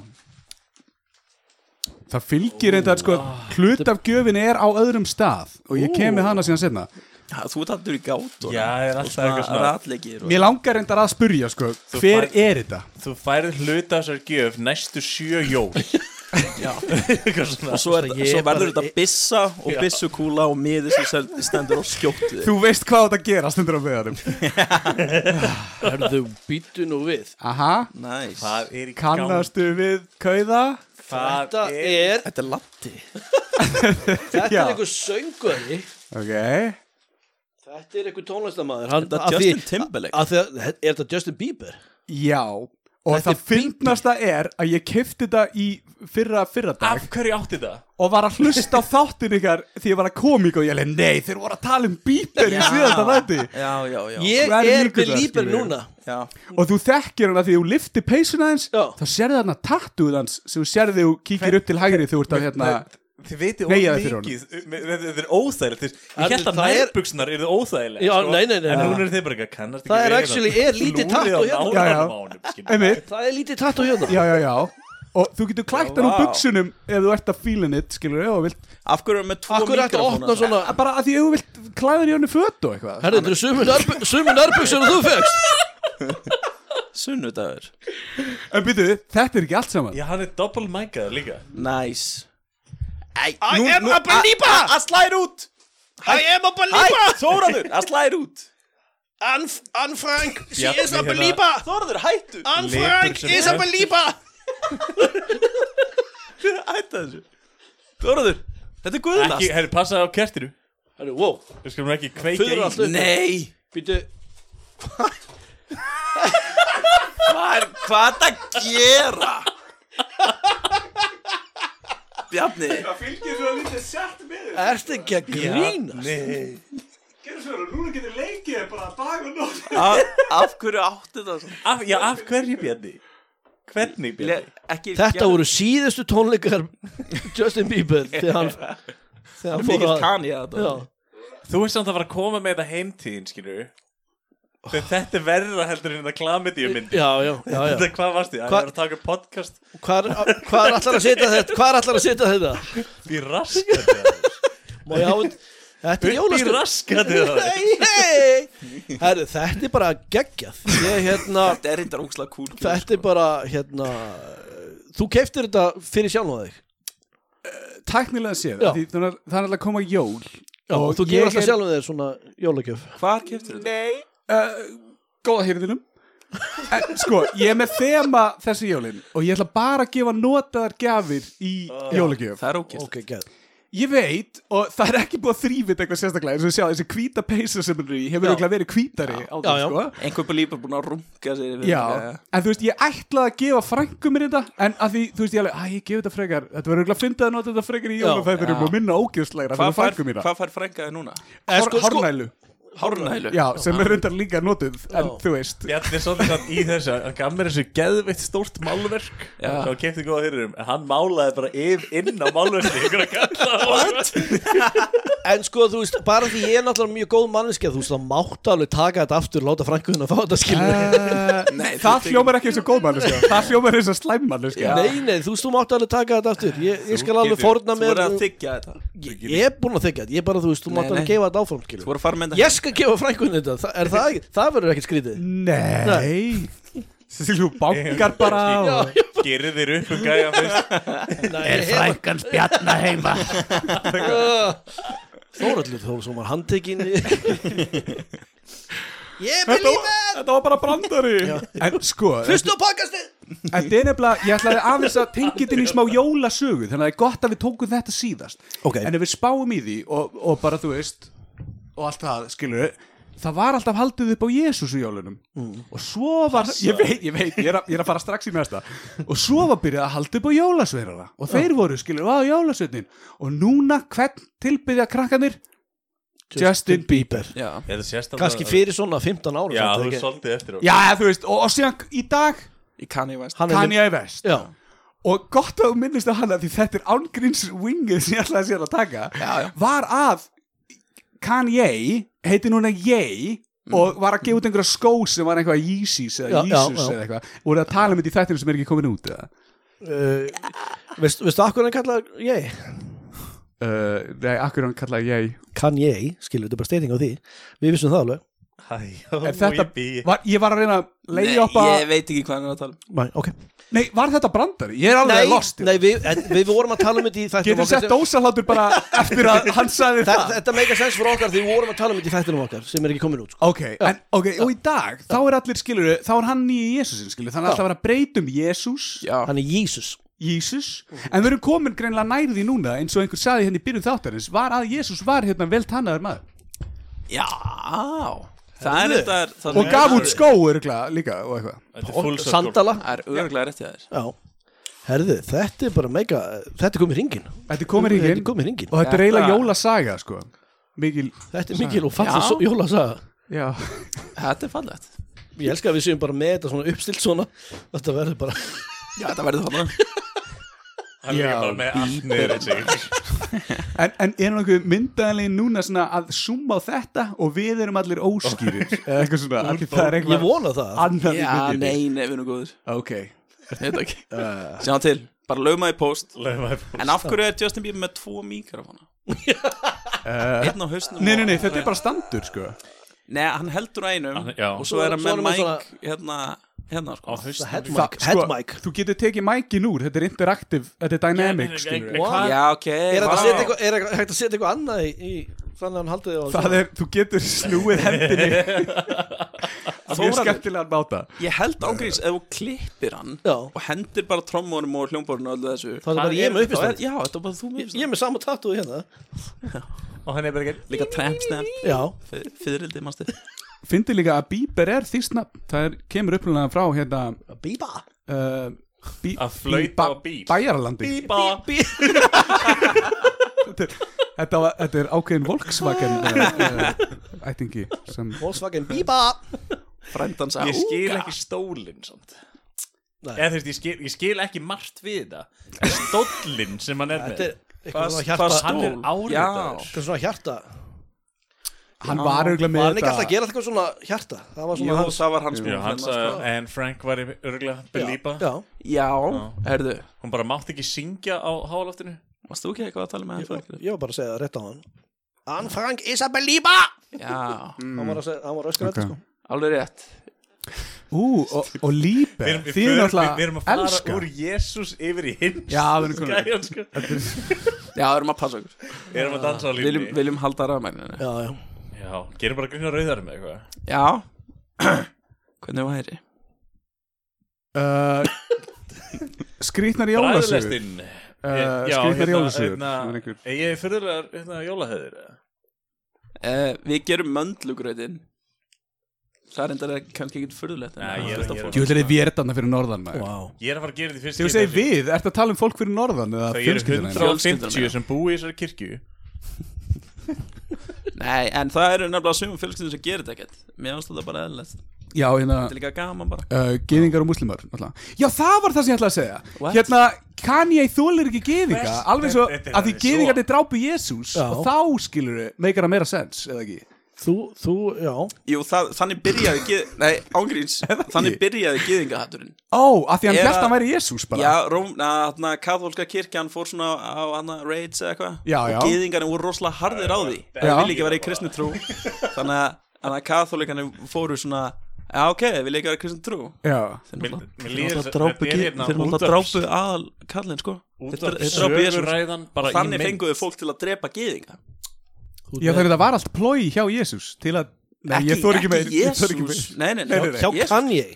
Speaker 3: það fylgir eitthvað sko, hlut af gjöfinni er á öðrum stað og ég kem með hana síðan setna
Speaker 2: Já, Þú ert alltaf í gát
Speaker 4: Já, er alltaf eitthvað svona.
Speaker 2: Ratleikir og...
Speaker 3: mér langar reyndar að spurja sko, hver
Speaker 4: færð-
Speaker 3: er þetta?
Speaker 4: þú færið hluta þessar gjöf næstu sjö jól eitthvað svona
Speaker 2: Svo, er,
Speaker 5: Ég
Speaker 2: svo
Speaker 5: bara-
Speaker 2: verður þetta bissa og bissukúla og miði sem sel- stendur á skjóttu
Speaker 3: Þú veist hvað þetta gerast undir á meðanum
Speaker 5: Herðu, býttu nú við
Speaker 3: Aha,
Speaker 2: Næs
Speaker 4: það er í gang
Speaker 3: kannastu við kauða?
Speaker 4: það
Speaker 5: Þetta
Speaker 4: er
Speaker 5: er,
Speaker 2: Þetta er latti
Speaker 5: þetta er
Speaker 3: Já.
Speaker 5: einhver söngveri
Speaker 3: Ok
Speaker 5: Þetta er einhver tónlistamæður Hann,
Speaker 2: Þetta
Speaker 5: að
Speaker 2: er
Speaker 5: því-
Speaker 2: Justin Timberlake
Speaker 5: að því að- Er þetta Justin Bieber?
Speaker 3: Já Og
Speaker 5: Þetta er
Speaker 3: það fyndnasta er að ég kefti þetta í fyrra fyrra dag
Speaker 4: af hverju átti það?
Speaker 3: og var að hlusta á þáttin ykkar því ég var að komík og ég leið nei þeir voru að tala um bíber í síðasta þætti
Speaker 2: Já, já, já
Speaker 5: Ég
Speaker 3: Hvað er
Speaker 5: er
Speaker 3: líkurnar,
Speaker 5: með Bieber
Speaker 3: skilur?
Speaker 5: núna
Speaker 2: Já,
Speaker 3: og þú þekkir hann að því þú liftir peysuna hans
Speaker 5: Já.
Speaker 3: þá sérðu hann að tattúð hans sem þú sérðu þegar þú kíkir upp til hægri þegar þú ert að hérna
Speaker 4: þið veitir
Speaker 3: Nei,
Speaker 4: of
Speaker 3: ég fyrir
Speaker 4: mikið þetta er óþægilegt þið-
Speaker 5: En
Speaker 4: ég held að
Speaker 5: það er-
Speaker 4: nærbuksunar eru óþægileg
Speaker 5: Já, nei, nei, nei.
Speaker 4: sko. en
Speaker 5: Já.
Speaker 4: núna eru þið bara ekki að kannast ekki
Speaker 5: Það er
Speaker 4: við
Speaker 5: actually-
Speaker 4: hérna.
Speaker 5: er lítið
Speaker 4: Lúrið
Speaker 5: tattoo
Speaker 4: á
Speaker 5: hérna.
Speaker 3: Já, já.
Speaker 4: nálarmánum, skilur.
Speaker 3: einmitt,
Speaker 5: Það er lítið tatt á hérna
Speaker 3: já já já og þú getur klætt hann úr buksunum ef þú ert að feelin it skilur og vilt
Speaker 2: af hverju er með tvo
Speaker 5: Akkur er þetta að opna
Speaker 2: mikrofóna
Speaker 5: svona
Speaker 3: Að bara að því að þú vilt klæða þér í önnu föt og eitthvað
Speaker 5: Herðu, þetta eru sumu nærbu- sumu nærbuxur og þú fegst
Speaker 2: Sunnudagur
Speaker 3: En byrju, þetta er ekki allt saman
Speaker 4: já, hann er double mic'að líka
Speaker 2: Næs
Speaker 9: I am a believer
Speaker 2: Að slæðir út
Speaker 9: I am a
Speaker 2: Æ,
Speaker 9: believer
Speaker 2: Þóraður, að slæðir út
Speaker 9: Ann Ann Frank, she
Speaker 4: Bjarni
Speaker 9: is a
Speaker 4: hérna-
Speaker 9: believer
Speaker 2: Þóraður, hættu
Speaker 9: Ann
Speaker 4: Letur
Speaker 9: Frank
Speaker 4: sem
Speaker 9: is a
Speaker 4: er.
Speaker 9: believer
Speaker 2: Hættu þessu Þóraður, þetta er guðlast
Speaker 4: ekki, herri, passaði á kertinu
Speaker 5: Herðu, wow
Speaker 4: við skulum ekki kveika
Speaker 5: Fuðra
Speaker 4: í
Speaker 5: allt upp
Speaker 2: Nei
Speaker 5: Býttu
Speaker 2: Hvað er, hvað er þetta að gera? Bjarni
Speaker 5: Ertu ekki að grínast?
Speaker 2: af, af hverju áttu þetta svona?
Speaker 4: af, já, af hverju björni? hvernig björni?
Speaker 2: Ég- ekki,
Speaker 5: Þetta voru síðustu tónleikar Justin Bieber þegar hann þegar hann fór
Speaker 2: Mikið
Speaker 5: að
Speaker 2: kann ég þetta
Speaker 5: Já.
Speaker 4: Þú veist samt að fara að koma með þetta heimtíðin, skilur Þegar þetta er verra heldur en þetta klamidíu myndi
Speaker 5: já, já, já, já.
Speaker 4: Þetta, hvað varst því? Það
Speaker 5: Hva-
Speaker 4: er að taka upp podcast
Speaker 5: Hvar, hvar allar að setja þetta? Hvar allar að setja þetta?
Speaker 4: Því raskat þetta
Speaker 5: Má ég hafa Þetta er
Speaker 4: Því
Speaker 5: jólaskrið
Speaker 4: raskat þetta
Speaker 5: hey, hey. Herru, þetta er bara geggjað Ég, hérna,
Speaker 2: Þetta er reyndar ógslag kúl
Speaker 5: Þetta er bara hérna, Þú keiftir þetta fyrir sjálf á þig
Speaker 3: Tæknilega séð,
Speaker 5: Já.
Speaker 3: af því þannig að- það er alltaf að koma jól
Speaker 5: Já, og þú
Speaker 3: ég
Speaker 5: gefur alltaf
Speaker 3: er-
Speaker 5: sjálf á þig svona jólagjöf
Speaker 2: Hvar keftur þetta?
Speaker 3: góða hýrðinum en sko, ég er með þema þessi jólin og ég ætla bara að gefa notaðar gjafir í jólagjöf
Speaker 2: Það er ógist
Speaker 5: Ok, gæð
Speaker 3: ég veit, og það er ekki búið að þrýfið eitthvað sérstaklega, eins og við sjá, þessi hvíta peysa sem er í, hefur
Speaker 5: Já.
Speaker 3: auðvitað verið hvítari já. á
Speaker 5: Já,
Speaker 3: það,
Speaker 5: já.
Speaker 3: sko
Speaker 2: Einhver bara lípa búin að runga sér yfir
Speaker 3: Já,
Speaker 2: þetta.
Speaker 3: en þú veist, ég ætlaði að gefa frængum mér þetta, en að því, þú veist, ég alveg, að ég gefi þetta frekar, þetta verður auðvitað að fynda að nota þetta frekar í
Speaker 5: Já,
Speaker 3: jólafæðurum og minna ógjöfslegra
Speaker 2: Hvað
Speaker 3: fyrir
Speaker 2: fær,
Speaker 3: frængum mína,
Speaker 2: hvað fær frængaði núna?
Speaker 5: Eh, sko-
Speaker 3: Hár-
Speaker 5: sko-
Speaker 3: hárnælu,
Speaker 2: Hárnælu
Speaker 3: já, sem er reyndar líka notuð, en þú veist,
Speaker 4: Bjarni er svolítið samt í þessu hann gaf mér þessu geðvitt stórt málverk
Speaker 2: Já.
Speaker 4: og kefti góða hyrrum en hann málaði bara yf inn á málverkni ykkur að kalla
Speaker 5: En sko, þú veist, bara því ég er náttúrulega mjög góð manneskja Þú veist, það mátt alveg taka þetta aftur Láta frænku þinn að fá þetta skilur
Speaker 3: Eh,
Speaker 2: Nei,
Speaker 3: það
Speaker 2: þú-
Speaker 3: hljómar ekki eins og góð manneska það hljómar eins og sko. slæm manneska
Speaker 5: Nei, nei, þú veist, þú mátt alveg taka þetta aftur Ég, ég skal alveg forna
Speaker 2: Þú
Speaker 5: mér
Speaker 2: voru að þykja þetta
Speaker 5: Ég ég er búin að þykja þetta Ég bara, þú veist, þú
Speaker 2: Nei,
Speaker 5: mátt alveg
Speaker 2: nei.
Speaker 5: gefa þetta áfram
Speaker 2: Þú
Speaker 5: skilur
Speaker 2: voru að fara með þetta
Speaker 5: Ég skal gefa frænku þinn þetta Þa- Er það ekki? Það verður ekkert skrítið
Speaker 3: nei þessi hljú bankar bara og...
Speaker 4: gerir þér upp um gæja fyrst
Speaker 5: Nei, er frænkan spjanna heima Þóraldur Þórsson var handtekinn í- Ég vil
Speaker 3: þetta, var, þetta var bara brandari en sko þetta
Speaker 5: Hlustu á pakkastu
Speaker 3: þetta er nefnilega, ég ætlaði aðeins að tengja þetta inn í smá jólasögu þannig að það er gott að við tókum þetta síðast
Speaker 5: Ok.
Speaker 3: en ef við spáum í því og, og bara þú veist og allt það, skilur það var alltaf haldið upp á Jésús í jólunum og svo var, ég veit, ég veit ég er, að, ég er að fara strax í næsta og svo var byrjað að halda upp á jólasveirana og þeir voru, skilur, á jólasveirnin og núna hvern tilbyðja krakkanir Justin Bieber
Speaker 2: Já
Speaker 4: Er það sérst að-
Speaker 5: Kanski fyrir svona 15 ára
Speaker 4: Já,
Speaker 5: samt,
Speaker 4: þú
Speaker 5: ekki?
Speaker 4: er svolítið eftir á
Speaker 3: Já, þú veist, og, og síðan í dag
Speaker 2: Í Kanye West
Speaker 5: Hann er með-
Speaker 3: Kanye West
Speaker 5: Já,
Speaker 3: og gott að þú minnist á hana því þetta er ángríns wingið sem ég ætlaði sér að taka já, já. var að Kanye heiti núna Ye og var að gefa út einhverja skó sem var eitthvað Yeezys eða
Speaker 5: Mm. Já, já,
Speaker 3: Jesus
Speaker 5: já.
Speaker 3: eða eitthvað voru að tala um þetta í þættinu sem er ekki komin út eða
Speaker 5: uh, veist, veistu akkur hann kallaði ég?
Speaker 3: Uh, nei, akkur hann kallaði ég
Speaker 5: Kann ég, skilur, þetta er bara steyting á því Við vissum það alveg
Speaker 4: Hæ, já,
Speaker 3: En
Speaker 4: nú
Speaker 3: þetta,
Speaker 4: ég bý
Speaker 3: var, ég var að reyna að
Speaker 2: Nei,
Speaker 3: leiða upp að
Speaker 2: ég veit ekki hvað hann er að tala um.
Speaker 5: Nei, ok
Speaker 3: Nei, var þetta brandari? Ég er alveg lost
Speaker 5: nei við, en, við vorum að tala um þetta í þættinum
Speaker 3: Getur sett dósalátur bara eftir að hann sagði
Speaker 5: Þetta,
Speaker 3: það
Speaker 5: þetta meika sens fyrir okkar því við vorum að tala um þetta í þættinum okkar sem er ekki komin út sko.
Speaker 3: Ok, en, ok, og í dag, þá er allir skilur þá er hann í Jésusin skilur, þannig að alltaf vera að breytum Jésús
Speaker 2: Já,
Speaker 5: Hann er Jesus
Speaker 3: Jísus En við erum komin greinlega nærið í núna eins og einhver saði henni í byrjun þáttarins var að Jésús var hérna vel tannaður maður
Speaker 2: já. Það er þetta það
Speaker 3: og
Speaker 2: er-
Speaker 3: gaf út skó örgla líka og eitthvað
Speaker 4: Þetta er full circle.
Speaker 5: Sandala
Speaker 2: Það er örgulega rétt í þér
Speaker 5: Já Herðu, þetta er bara meika Þetta er komið hringin
Speaker 3: Þetta er komin
Speaker 5: Þetta er
Speaker 3: hringin
Speaker 5: komið hringin
Speaker 3: og þetta er eiginlega
Speaker 2: Þetta-
Speaker 3: jólasaga sko Mikil,
Speaker 5: Þetta er mikil og falla
Speaker 2: Já.
Speaker 5: svo Jóla sagði
Speaker 3: já
Speaker 2: Þetta er fallegt
Speaker 5: Ég elska að við séum bara með þetta svona uppstilt svona Þetta verður bara
Speaker 2: Já, þetta verður þannig
Speaker 4: Hann er ekki bara með allt niður í sig
Speaker 3: En, en er nokkuð myndaðalegi núna svona að summa á þetta og við erum allir óskýrir eða eitthvað svona af því það er
Speaker 5: Ég
Speaker 3: eitthvað
Speaker 5: vona það
Speaker 3: annað í
Speaker 2: Já,
Speaker 3: byrjunni
Speaker 2: nei, nei, við erum góður
Speaker 3: Ok,
Speaker 2: Þetta ekki
Speaker 5: Uh.
Speaker 2: Sjá til, bara lögma í post
Speaker 4: Lefa upp.
Speaker 2: En af hverju er Justin Bieber með tvo mikrofona? Uh. Einn á hausnum
Speaker 3: nei,
Speaker 2: og-
Speaker 3: nei, nei, þetta er bara standur sko
Speaker 2: Nei, hann heldur á einum
Speaker 4: Hann- já.
Speaker 2: Og svo er hann
Speaker 5: Svo
Speaker 2: með
Speaker 5: er hann með
Speaker 2: mæk hérna, hérna
Speaker 4: Á
Speaker 2: sko.
Speaker 4: hausnum.
Speaker 5: Head
Speaker 3: Þa-
Speaker 5: mic, head mic
Speaker 3: Sko, Þú getur tekið mækin úr, þetta er interactive, þetta er dynamic
Speaker 4: Nei,
Speaker 3: skilur
Speaker 4: nei, hvað-
Speaker 2: Já, ok
Speaker 5: Er þetta
Speaker 2: vá.
Speaker 5: að setja eitthvað- er eitthvað- hægt að setja eitthvað annað í, í Þannig að hann haldið á
Speaker 3: Það er, þú getur snúið hendinni Það er
Speaker 2: Þórarinn.
Speaker 3: skemmtilegan máta
Speaker 2: Ég held ángríns ef þú klippir hann
Speaker 5: Já.
Speaker 2: og hendir bara trommunum og hljómborinu og öllu þessu
Speaker 5: Þá er það bara
Speaker 2: Hann
Speaker 5: ég með
Speaker 2: þá
Speaker 5: uppistand.
Speaker 2: er- Já, þetta er bara þú með
Speaker 5: Ég er með sama tattoo hérna
Speaker 4: Og hann er bara ekki
Speaker 2: Líka trampstamp,
Speaker 5: Já
Speaker 2: fyririldi mannstu
Speaker 3: Fyndi líka að Bieber er þýstnafn Það er, kemur upplunaðan frá hérna
Speaker 5: Bíba
Speaker 3: uh, bí,
Speaker 4: Að flauta
Speaker 3: bí-
Speaker 4: á bíl.
Speaker 3: Bæjaralandi
Speaker 4: Bíba
Speaker 3: þetta, var, þetta er ákveðin Volkswagen uh, ættingi sem
Speaker 5: Volkswagen Bíba
Speaker 2: Frændans á
Speaker 4: Ég skil ekki stólinn samt
Speaker 5: Nei.
Speaker 4: Eða þú veist, ég skil, ég skil ekki margt við það Stólinn sem hann er með
Speaker 5: Þetta er eitthvað svona
Speaker 2: Hvað
Speaker 5: hjarta
Speaker 2: stól?
Speaker 4: Hann er
Speaker 2: Já.
Speaker 4: áreitaður
Speaker 5: Eitthvað svona hjarta
Speaker 3: Hann var auðvitað með
Speaker 5: Var hann ekki alltaf að gera eitthvað svona hjarta? Það var svona
Speaker 2: Jú, það var hans
Speaker 4: Já,
Speaker 2: mál,
Speaker 4: hann
Speaker 2: sko.
Speaker 4: sagði En Frank var örgulega belípa
Speaker 5: Já,
Speaker 2: Já, herðu,
Speaker 4: Hún bara mátti ekki syngja á háloftinu
Speaker 2: varst þú ekki eitthvað að tala með hann
Speaker 5: já,
Speaker 2: Frank?
Speaker 5: ég var bara að segja það rétt á hann
Speaker 9: Anne Frank is a belieber.
Speaker 2: Já,
Speaker 5: Hann var, að segja, hann var öskrið
Speaker 3: Ok.
Speaker 5: sko.
Speaker 2: alveg rétt
Speaker 3: Ú, og, og líbe
Speaker 4: Við erum, við
Speaker 3: Þið er
Speaker 4: förum- við- við erum að
Speaker 3: náttúrulega
Speaker 4: fara
Speaker 3: elska
Speaker 4: úr Jésús yfir í hinn
Speaker 3: Já, við erum komin
Speaker 4: Gæjan sko
Speaker 2: Já, við erum að passa okkur
Speaker 4: Við erum að dansa á
Speaker 2: Viljum,
Speaker 4: línni
Speaker 2: viljum halda rafmægninu
Speaker 5: Já, já
Speaker 4: Já, gerum bara grunna rauðar með eitthvað
Speaker 2: Já, hvernig væri?
Speaker 3: Uh, Skrýtnar jólasögur
Speaker 4: Bræðlestinn Eh,
Speaker 3: Uh, skrýtnar jólasögur sem er einhver-
Speaker 4: hérna, Ég er fyrirlegar hérna, jólahöðir
Speaker 2: Uh, við gerum möndlugröðin Það er enda kannski ekkit furðulegt en
Speaker 4: Nei,
Speaker 2: það
Speaker 4: ég er
Speaker 2: fullt
Speaker 4: að
Speaker 2: af
Speaker 4: gera
Speaker 2: fólki.
Speaker 3: Jú, þetta er vérdana fyrir norðan maður
Speaker 5: Vá
Speaker 4: Ég er að fara að gera því fyrst
Speaker 3: Þegar við segir við, ertu að tala um fólk fyrir norðan eða
Speaker 4: Það eru
Speaker 3: fjölskyldina þína?
Speaker 4: 150 sem búi í þessari kirkju
Speaker 2: Nei, en það eru nefnilega sumum fjölskyldum sem gerir þetta ekkert Mér finnst þetta bara eðlilegt Þetta
Speaker 3: Já, hérna
Speaker 2: er líka gaman bara
Speaker 3: uh, Geðingar og muslimar náttúrulega. Já, það var það sem ég ætlaði að segja
Speaker 2: What?
Speaker 3: Hérna, Kanye þólir ekki geðinga
Speaker 4: Best-
Speaker 3: Alveg svo
Speaker 4: Þetta er
Speaker 3: að því
Speaker 4: alveg svo.
Speaker 3: geðingarnir drápu Jésús
Speaker 5: Já.
Speaker 3: Og þá skilur þau, meikar það meira sens Eða ekki
Speaker 5: Þú, þú, já
Speaker 2: Jú, það, þannig byrjaði geð... Nei, ángríns Þannig byrjaði gyðingahatturinn
Speaker 3: Ó, að því hann
Speaker 2: Er
Speaker 3: held
Speaker 2: að-
Speaker 3: að hann væri Jésús bara
Speaker 2: Já, Róm, na, hana, katholska kirkjan fór svona á hana raids eða eitthvað
Speaker 3: Já, já.
Speaker 2: Og gyðingarnir voru rosalega harðir á því
Speaker 3: Já.
Speaker 2: Það vil ekki vera í kristni trú Þannig að hana, katholikarnir fóru svona Já, ok, vil ekki vera í kristni trú
Speaker 3: Já.
Speaker 2: Þeir
Speaker 4: Mér-
Speaker 2: náttúrulega-
Speaker 4: mér
Speaker 2: þeir
Speaker 4: líður
Speaker 2: náttúrulega
Speaker 4: þess-
Speaker 2: drápu
Speaker 4: þetta er
Speaker 2: gyð-
Speaker 4: hérna
Speaker 2: Þeir náttúrulega drápu aðal kallinn,
Speaker 4: útvarps-
Speaker 2: sko Þeir
Speaker 4: Út af
Speaker 2: þeir drápu Jesús
Speaker 4: söguræðan bara í
Speaker 2: Þannig
Speaker 4: mynd.
Speaker 2: fenguðu fólk til að drepa gyðinga
Speaker 3: Já, þannig að það var allt plói hjá Jésús Til að, nei, ég þór ekki meir ég þori ekki
Speaker 2: Jésús Nei, nei, nei,
Speaker 3: Nei, nei, nei.
Speaker 5: Hjá
Speaker 2: Jesús.
Speaker 5: Kanye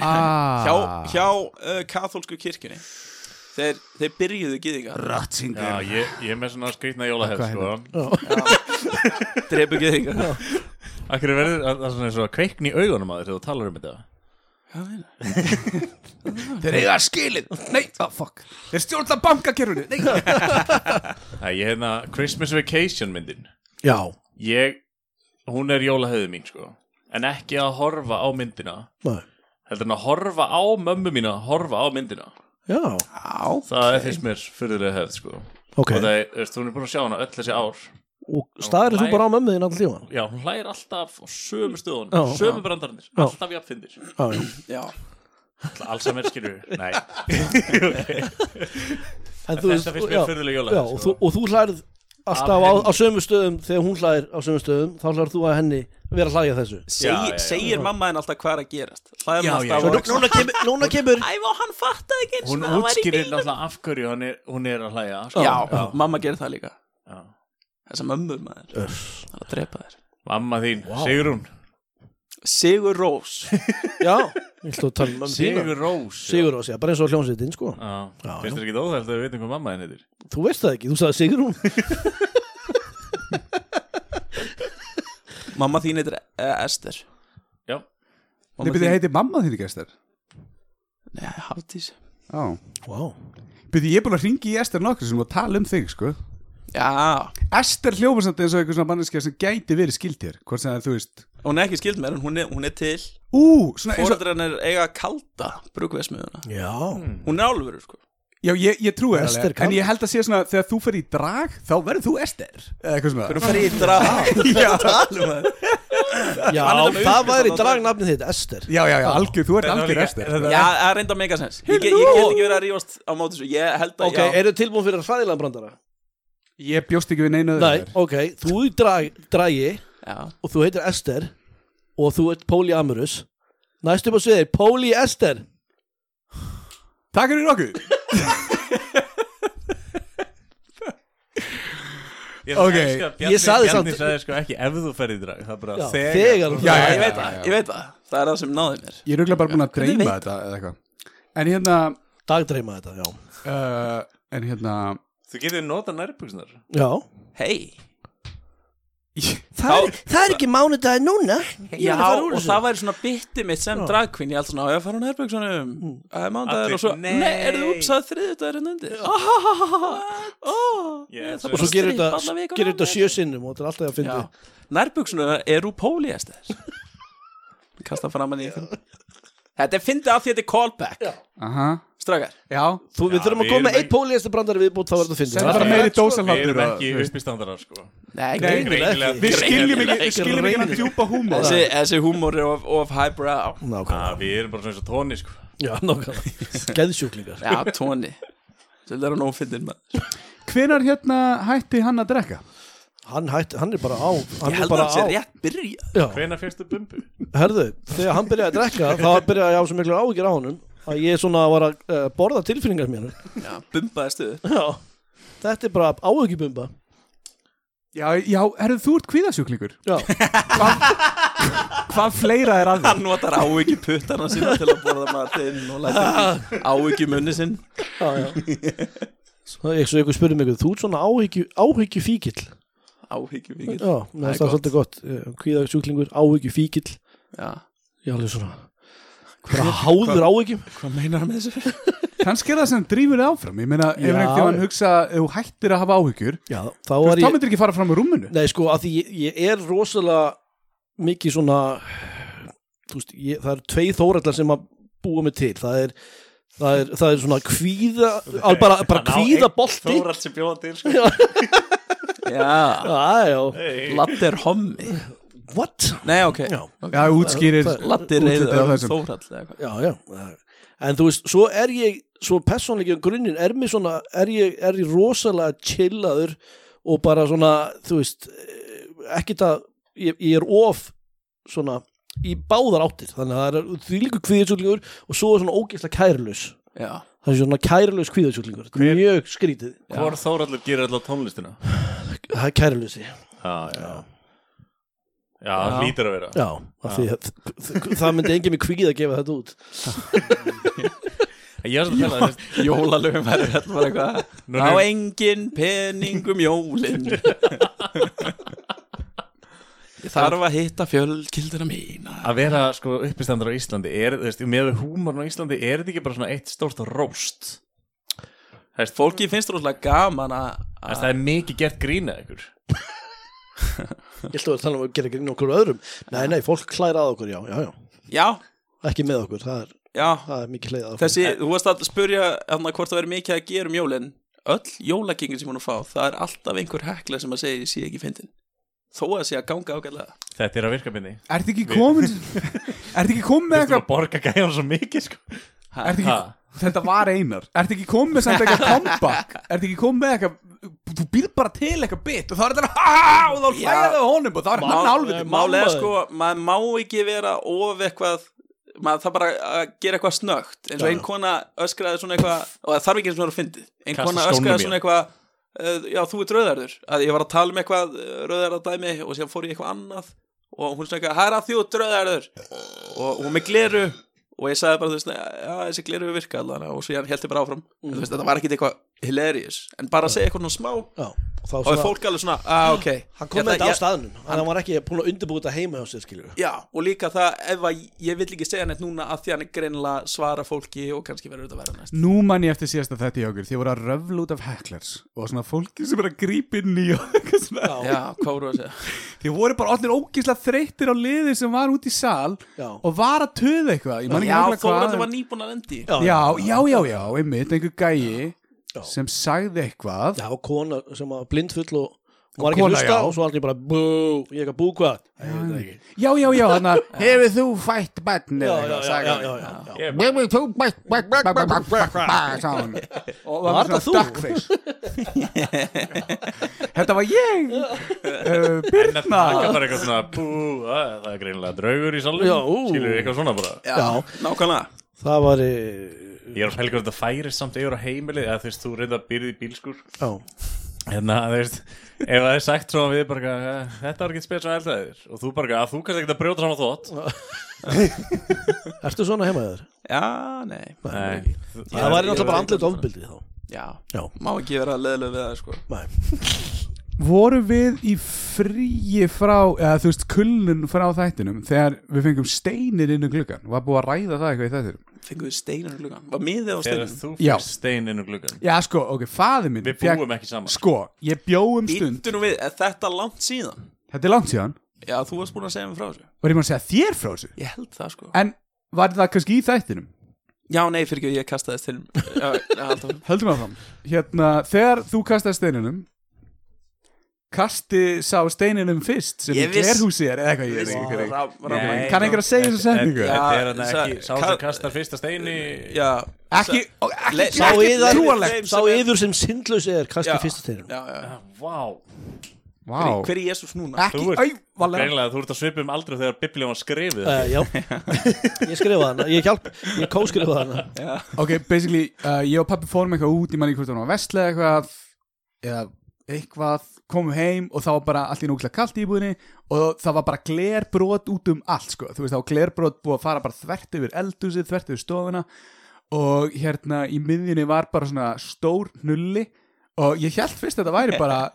Speaker 3: Ah.
Speaker 2: hjá, hjá uh, katholsku kirkjunni Þeir, þeir byrjuðu gyðinga
Speaker 4: Já, ég, ég er með svona skrýtna jólahefð
Speaker 3: Hvað
Speaker 4: sko.
Speaker 2: Drepu gyðinga Já,
Speaker 4: Akkur er verður það er svona eins og að kveikni í augunum að þér þegar þú talar um þetta
Speaker 2: meina.
Speaker 3: Þeir eiga skilin Nei, ah, fuck Þeir stjórna bankakerfinu Nei
Speaker 4: Æ, ég hefna Christmas Vacation myndin
Speaker 5: Já
Speaker 4: Ég, hún er jólahefði mín sko En ekki að horfa á myndina
Speaker 5: Nei.
Speaker 4: Heldur en að horfa á mömmu mína Horfa á myndina
Speaker 5: Já,
Speaker 4: Það er fyrst mér fyrðulega hefð sko
Speaker 5: ok
Speaker 4: Og það er, þú veist, hún er búin að sjá hana öll þessi ár
Speaker 5: Og staðir þú
Speaker 4: Læ-
Speaker 5: bara á mömmu þín alltaf tíman
Speaker 4: Já, hún hlægir alltaf á sömu stöðun
Speaker 5: Já.
Speaker 4: Sömu brandarnir,
Speaker 5: Já.
Speaker 4: alltaf jafnfindir
Speaker 5: Já, já
Speaker 2: Já.
Speaker 4: Alls að mér skilur Nei,
Speaker 5: En þú
Speaker 4: þetta fyrst mér
Speaker 5: já,
Speaker 4: fyrðulega
Speaker 5: já,
Speaker 4: jólahefð
Speaker 5: og þú, og þú hlærð alltaf á,
Speaker 4: henni.
Speaker 5: á sömu stöðum Þegar hún hlær á sömu stöðum Þá hlær þú að henni vera að hlæja þessu
Speaker 2: Seg,
Speaker 4: Já, já, já.
Speaker 2: Segir mamma henn alltaf hvað er að gerast Hlæðum
Speaker 4: Já, já,
Speaker 2: alltaf
Speaker 4: já.
Speaker 2: á
Speaker 5: Nú- Núna kemur, núna kemur
Speaker 2: Æ, vá, hann fattaði ekki eins og
Speaker 4: Hún
Speaker 2: hann var í
Speaker 4: útskýrir
Speaker 2: bílnum.
Speaker 4: náttúrulega af hverju hann er, hún er að hlæja sko.
Speaker 2: já, mamma gerir það líka
Speaker 4: Já.
Speaker 2: Þessa mömmu maður Það er að drepa þér
Speaker 4: Mamma þín, Sigrún
Speaker 2: Sigur Rós
Speaker 5: Já, ég ætla að tala um mömmu þína
Speaker 4: Sigur Rós
Speaker 5: Sigur Rós, já, bara eins og hljómsveitin, sko
Speaker 4: Ah. Já, finnst þér ekki óþægt að við veitum hvað mamma þín heitir
Speaker 5: Þú veist það ekki, þú sagði Sigur hún
Speaker 2: Mamma þín heitir uh, Ester
Speaker 4: Já,
Speaker 2: Mamma
Speaker 3: byrði,
Speaker 2: þín-
Speaker 3: heiti mamma þín ekki Ester
Speaker 2: Nei, Hafdís
Speaker 3: Já
Speaker 5: Vá
Speaker 3: Byrði, ég er búin að ringi í Ester nokkur sem að tala um þig, sko
Speaker 2: Já,
Speaker 3: Ester hljóma samt eins og einhver svona manneskja sem gæti verið skild hér Hvort sem það er, þú veist
Speaker 2: hún er ekki skild með hún, er- hún er til
Speaker 3: Ú, svona eins og
Speaker 2: Fóreldrar hennar eiga kalda Brugveðsmiðuna
Speaker 5: Já
Speaker 2: Hún er álfur, sko
Speaker 3: Já, ég, ég trúi það
Speaker 5: Ester
Speaker 3: alveg En ég held að sé svona, þegar þú fer í drag Þá verður þú Ester Eða eitthvað sem
Speaker 2: Hún fer í drag
Speaker 5: Já,
Speaker 2: Hann er
Speaker 5: það
Speaker 2: með
Speaker 5: væri
Speaker 2: upplýst á
Speaker 5: dragnafnið þitt, Ester
Speaker 3: Já, já, já, algjör, þú ert
Speaker 4: var
Speaker 3: algjör
Speaker 4: líka-
Speaker 3: Ester
Speaker 4: þetta-
Speaker 2: Já, það er reynda megasens ég, get- ég get ekki verið að rífast á móti þessu Ég held að,
Speaker 5: Ok,
Speaker 2: já
Speaker 5: eru tilbúin fyrir hræðilega brandara?
Speaker 3: Ég bjóst ekki við neina
Speaker 5: Nei, ok, þú í drag, dragi
Speaker 2: Já,
Speaker 5: og þú heitir Ester og þú ert polyamorous Næst upp á sviði, Póli Ester
Speaker 3: Takk fyrir okkur
Speaker 4: ég,
Speaker 3: Ok.
Speaker 4: elska að Bjarni-
Speaker 5: Ég sagði
Speaker 4: Bjarni
Speaker 5: samt-
Speaker 4: sagði sko ekki ef þú ferð í drag Það er bara
Speaker 5: Já,
Speaker 4: þegar,
Speaker 5: þegar þú-
Speaker 3: Já, já,
Speaker 2: ég veit
Speaker 3: já,
Speaker 2: það,
Speaker 3: já.
Speaker 2: ég veit það Það er það sem náði mér
Speaker 3: Ég er auðvitað bara búin að
Speaker 2: Hvernig
Speaker 3: dreyma
Speaker 2: veit-
Speaker 3: þetta eða eitthvað En hérna
Speaker 5: Dagdreima þetta, já
Speaker 3: uh, En hérna
Speaker 4: Þú getur nota nærbuksnar
Speaker 5: Já
Speaker 2: Hei
Speaker 5: Það er, það er ekki mánudagi núna Ég
Speaker 2: Já,
Speaker 5: er að fara úr
Speaker 2: og
Speaker 5: þessu.
Speaker 2: það væri svona bytti mitt sem dragkvinn Ég held svona, á ég að fara á nærbjöksunum Það er mándagur
Speaker 4: Allir,
Speaker 2: og svo
Speaker 4: nei.
Speaker 2: Nei, er þú uppsað þriðutagurinn hérna undir Ah,
Speaker 4: Yes.
Speaker 2: Og
Speaker 5: Og svo gerir þetta, gerir þetta sjö sinnum og þetta er alltaf að fyndi
Speaker 2: Nærbjöksuna er úr póliester Kasta framann í ykkur Þetta er fyndið af því þetta er callback
Speaker 3: Aha
Speaker 2: Strakar
Speaker 3: Já,
Speaker 5: Þú, við
Speaker 4: Já,
Speaker 5: þurfum að
Speaker 4: við
Speaker 5: koma
Speaker 4: erum
Speaker 5: með eitt póliðasta brandari viðbútt þá verður
Speaker 3: Það
Speaker 5: það
Speaker 3: er
Speaker 5: fyndið
Speaker 3: bara meiri dósan
Speaker 4: Sko, Við erum
Speaker 3: hlátur
Speaker 4: ekki
Speaker 3: og-
Speaker 4: uppistandarar sko
Speaker 2: Nei,
Speaker 3: Nei,
Speaker 4: greinilega.
Speaker 3: Við skiljum ekki,
Speaker 4: Ekki
Speaker 3: við skiljum ekki hann
Speaker 5: reynilega.
Speaker 3: djúpa húmor
Speaker 2: Þessi, þessi húmor er of, of highbrow
Speaker 5: Nákvæmlega.
Speaker 4: Ah, Við erum bara svona eins og tóni sko
Speaker 5: Já, nákvæmlega Geðsjúklingar
Speaker 2: Já, tóni Svolítið er hann ófindin maður
Speaker 3: Hvenar hérna hætti hann að drekka?
Speaker 5: Hann, hætt, hann er bara á Hann
Speaker 2: Ég
Speaker 5: er
Speaker 2: held að
Speaker 5: bara
Speaker 2: hann sé
Speaker 5: á
Speaker 2: rétt byrja
Speaker 4: Hvenær fyrstu bumbu?
Speaker 5: Herðu, þegar hann byrjaði að drekka þá byrjaði ég á svo miklu áhyggjur á honum að ég svona var að uh, borða tilfinningar mér
Speaker 2: Já, bumbaði stuðu
Speaker 5: Já Þetta er bara áhyggjubumba
Speaker 3: Já, já, herðu þú ert kvíðasjúklingur
Speaker 5: Já,
Speaker 3: Hvað fleira er að þér?
Speaker 2: Hann notar áhyggjum puttana sína til að borða matinn og læta áhyggjum unni sinn
Speaker 5: já, já Svo ég svo ykkur spurði mig þú ert svona áhyggju, áhyggjufíkil
Speaker 2: Áhyggjum
Speaker 5: Já, mér
Speaker 2: Það
Speaker 5: finnst það er
Speaker 2: er
Speaker 5: svolítið gott Kvíða sjúklingur, áhyggjufíkil
Speaker 2: Já
Speaker 5: Ég er alveg svona bara háður áhyggjum
Speaker 2: Hvað meinar hann með þessu?
Speaker 3: Kannski er það sem drýfur þið áfram Ég meina, ef
Speaker 5: Já.
Speaker 3: ekki hann hugsa að þú hættir að hafa áhyggjur
Speaker 5: Já, þá
Speaker 3: Þú
Speaker 5: var
Speaker 3: veist, þá
Speaker 5: ég
Speaker 3: myndir ekki fara fram úr rúminu
Speaker 5: Nei, sko, að því ég, ég er rosalega mikið svona þú veist, ég, það eru tvei þórallar sem að búa mig til það er, það er, það er svona kvíða al, bara, bara kvíða bolti
Speaker 4: Þóral sem bjóða til sko
Speaker 2: Já,
Speaker 5: Já, já,
Speaker 2: Latt er hommi
Speaker 5: what?
Speaker 2: Nei, ok
Speaker 5: Já,
Speaker 3: Já, útskýrir
Speaker 2: Latt er
Speaker 3: útlitið af
Speaker 2: reyður
Speaker 3: þessum.
Speaker 2: Þórhall eða eitthvað
Speaker 5: já, já en þú veist, svo er ég svo persónleikjum grunninn er mér svona er ég, er ég rosalega chillaður og bara svona, þú veist ekkit að, ég, ég er of svona, í báðar áttir þannig að það er því líka kvíðisúlingur og svo er svona ógeðslega kærlaus
Speaker 2: Já
Speaker 5: það er svona kærlaus kvíðasjúklingur Þetta er mjög skrítið,
Speaker 4: Hvor Þóraldur gerir alltaf tónlistina?
Speaker 5: það er kærlausi
Speaker 4: Já, já Já, það
Speaker 2: Já.
Speaker 4: hlýtur að vera
Speaker 5: já, af því að það myndi engin með kvíð að gefa þetta út
Speaker 4: Ég er svona að tala þess
Speaker 2: Jólalöfum verður þetta bara eitthvað Á engin peningum jólin Ég þarf að hitta fjölkildina mína
Speaker 4: Að vera sko uppistandur á Íslandi er, þú veist, með húmarn á Íslandi er þetta ekki bara svona eitt stórt róst
Speaker 2: Heist, Fólki finnst rosalega gaman að
Speaker 4: Þess, Það er mikið gert grína ykkur
Speaker 5: ég ætla að vera að tala um að gera grín okkur öðrum nei, nei, fólk hlæra að okkur, já, já, já
Speaker 2: Já,
Speaker 5: ekki með okkur, það er,
Speaker 2: já
Speaker 5: það er mikið hlæða okkur
Speaker 2: Þessi, Eh, þú varst að spyrja hann hvort það verður mikið að gera um jólin Öll jólagengin sem hún er að fá Það er alltaf einhver hekla sem að segja sé ekki fyndin Þó að sé að ganga ágætlega
Speaker 4: Þetta er að virka minni
Speaker 3: Ertu ekki komin Ertu ekki komin með
Speaker 4: Þú veist
Speaker 3: eitthvað
Speaker 4: að borga gæjan svo mikið sko
Speaker 3: Ertu ekki,
Speaker 4: Ha?
Speaker 3: þetta var einar Ertu ekki komið með samt eitthvað comeback Ertu ekki komið með eitthvað Þú býr bara til eitthvað bit Og þá er þetta "Ha-ha-ha", Og þá hlæða það honum Og þá er hann alveg
Speaker 2: Málega sko, maður má ekki vera of eitthvað maður þarf bara að gera eitthvað snögt eins og ein kona öskraði svona eitthvað og það þarf ekki eins og vera að fyndið ein
Speaker 4: Kasta
Speaker 2: kona
Speaker 4: skónum í
Speaker 2: öskraði
Speaker 4: hann.
Speaker 2: svona eitthvað uh, já þú ert rauðarður að ég var að tala um eitthvað rauðarðardæmi og sér fór ég eitthvað annað og hún svona eitthvað hæra því út rauðarður og hún með gleru og ég sagði bara þú veist já þessi gleru virka allan og svo ég held ég bara áfram en, þú veist þetta var ekkit eitthvað hilarious en bara að segja eitthvað svona smá
Speaker 5: já, og þá
Speaker 2: og er
Speaker 5: svona,
Speaker 2: fólk alveg svona ah, ok
Speaker 5: hann kom
Speaker 2: Ég ætla-
Speaker 5: með þetta á
Speaker 2: ég-
Speaker 5: staðnum hann, hann var ekki búin að undirbúið þetta heima hjá sér, skiljum
Speaker 2: Já, og líka það ef að ég vill ekki segja neitt núna að því hann er greinilega að svara fólki og kannski verður þetta verða næst
Speaker 3: Nú man ég eftir síðasta þetta í okkur Því voru að röfla út af hecklers Og svona fólki sem er að grípa inn í og eitthvað svona.
Speaker 2: Já, hvað voru að segja?
Speaker 3: Því voru bara allir ógislega þreyttir á liði Sem var út í sal
Speaker 5: Já.
Speaker 3: Og var að töða eitthvað Ég man ekki
Speaker 2: Já,
Speaker 3: nákvæmlega
Speaker 2: þó var
Speaker 3: hvað.
Speaker 2: alltaf nýbúin að lendi
Speaker 5: já, já,
Speaker 3: Já, já, já, já, einmitt Einhver gæi sem sagði eitthvað
Speaker 5: já, og kona sem var blindfull og hún
Speaker 3: Og
Speaker 5: var ekki að
Speaker 3: kona,
Speaker 5: hlusta
Speaker 3: já.
Speaker 5: og svo allir bara bú, ég er ekki að bú hvað Nei, ég veit það ekki.
Speaker 3: Já, já, já, þannig að Hefur þú fætt barnið
Speaker 5: já, já, já, já, já, já.
Speaker 9: Hefur þú bætt, bætt, bætt, bætt, bætt, bætt, bætt
Speaker 3: og
Speaker 5: Var
Speaker 3: með svona
Speaker 5: það þú?
Speaker 3: duckface Þetta var ég uh, Birna
Speaker 4: Það er bara eitthvað svona bú, að, Það er greinilega draugur í salum
Speaker 5: Já, ú.
Speaker 4: Skilur eitthvað svona bara
Speaker 2: Já, nákvæmlega
Speaker 5: það var e,
Speaker 4: Ég er að pæla hvort það færir samt yfir á heimilið eða þú veist, þú reynda að byrði í bílskur
Speaker 5: já,
Speaker 4: hérna, þú veist, ef það er sagt svo við bara, eitthvað, "Eh, þetta var ekki spes á eldaðir og þú bara, að þú kannski ekkert að brjóta saman þótt
Speaker 5: ertu svona heima þér?
Speaker 2: Já, nei
Speaker 4: Nei,
Speaker 5: það var náttúrulega bara andlut ofbildið þá
Speaker 2: Já,
Speaker 5: Já.
Speaker 2: má ekki vera leðileg við það sko
Speaker 5: Nei.
Speaker 3: Voru við í fríi frá eða þú veist kulnun frá þættinum þegar við fengum steinir inn um gluggan var búið að ræða það eitthvað í þættinum
Speaker 2: Fenguðu steinar í gluggan, var miðið á
Speaker 4: þegar
Speaker 2: steinar
Speaker 4: þú
Speaker 3: Já.
Speaker 4: fyrir stein inn um gluggan
Speaker 3: Já sko, ok, faði minn
Speaker 4: Við
Speaker 3: fékk-
Speaker 4: búum ekki saman.
Speaker 3: Sko, ég bjóum stund
Speaker 2: Býttu nú við, er þetta langt síðan?
Speaker 3: Þetta er langt síðan
Speaker 2: Já, þú varst búin að segja mér frá þessu
Speaker 3: Var ég maður að segja þér frá þessu
Speaker 2: Ég held það sko
Speaker 3: En var það kannski í þættinum?
Speaker 2: Já, nei, fyrir ekki, ég kastaðist til Já, já, halda áfram.
Speaker 3: höldum við áfram hérna, þegar þú kastaði steininum kasti sá steininum fyrst sem
Speaker 2: Ég
Speaker 3: í
Speaker 2: viss-
Speaker 3: glerhúsi er eða eitthvað ég veit
Speaker 2: Viss-
Speaker 3: ekki hver
Speaker 2: Rá-
Speaker 3: Nei,
Speaker 2: rá-
Speaker 3: kann einhver að segja þessa setningu?
Speaker 4: Þetta þetta er hann
Speaker 2: Já,
Speaker 4: ekki, sá
Speaker 2: sa-
Speaker 4: sem kastar fyrsta steini
Speaker 2: Já,
Speaker 3: ekki, og ekki,
Speaker 2: Le-
Speaker 5: Sá
Speaker 2: Ekki
Speaker 5: yðar,
Speaker 2: trúarlegt.
Speaker 5: sá yður sem syndlaus er kasta
Speaker 2: Já.
Speaker 5: fyrsta steinum
Speaker 2: já, já
Speaker 4: Vá,
Speaker 3: Vá.
Speaker 2: Hver- Hver er Jésús núna?
Speaker 3: ekki
Speaker 4: Þú ert-
Speaker 3: au, valega
Speaker 4: greinlega þú ert að svipum aldrei þegar biblíum var skrifið
Speaker 5: Uh, já, ég skrifaði hana Ég hjálp, ég kóskrifaði hana
Speaker 3: ok, basically, uh, ég og pappi fórum eitthvað út í manni hvort það var vestlega eitthvað eða eitthvað, komum heim og það var bara allt í núklega kalt í íbúðinni og það var bara glerbrot út um allt sko. þú veist, það var glerbrot búið að fara bara þvert yfir eldhúsið, þvert yfir stofuna og hérna í miðjunni var bara svona stór hnulli og ég held fyrst að þetta væri bara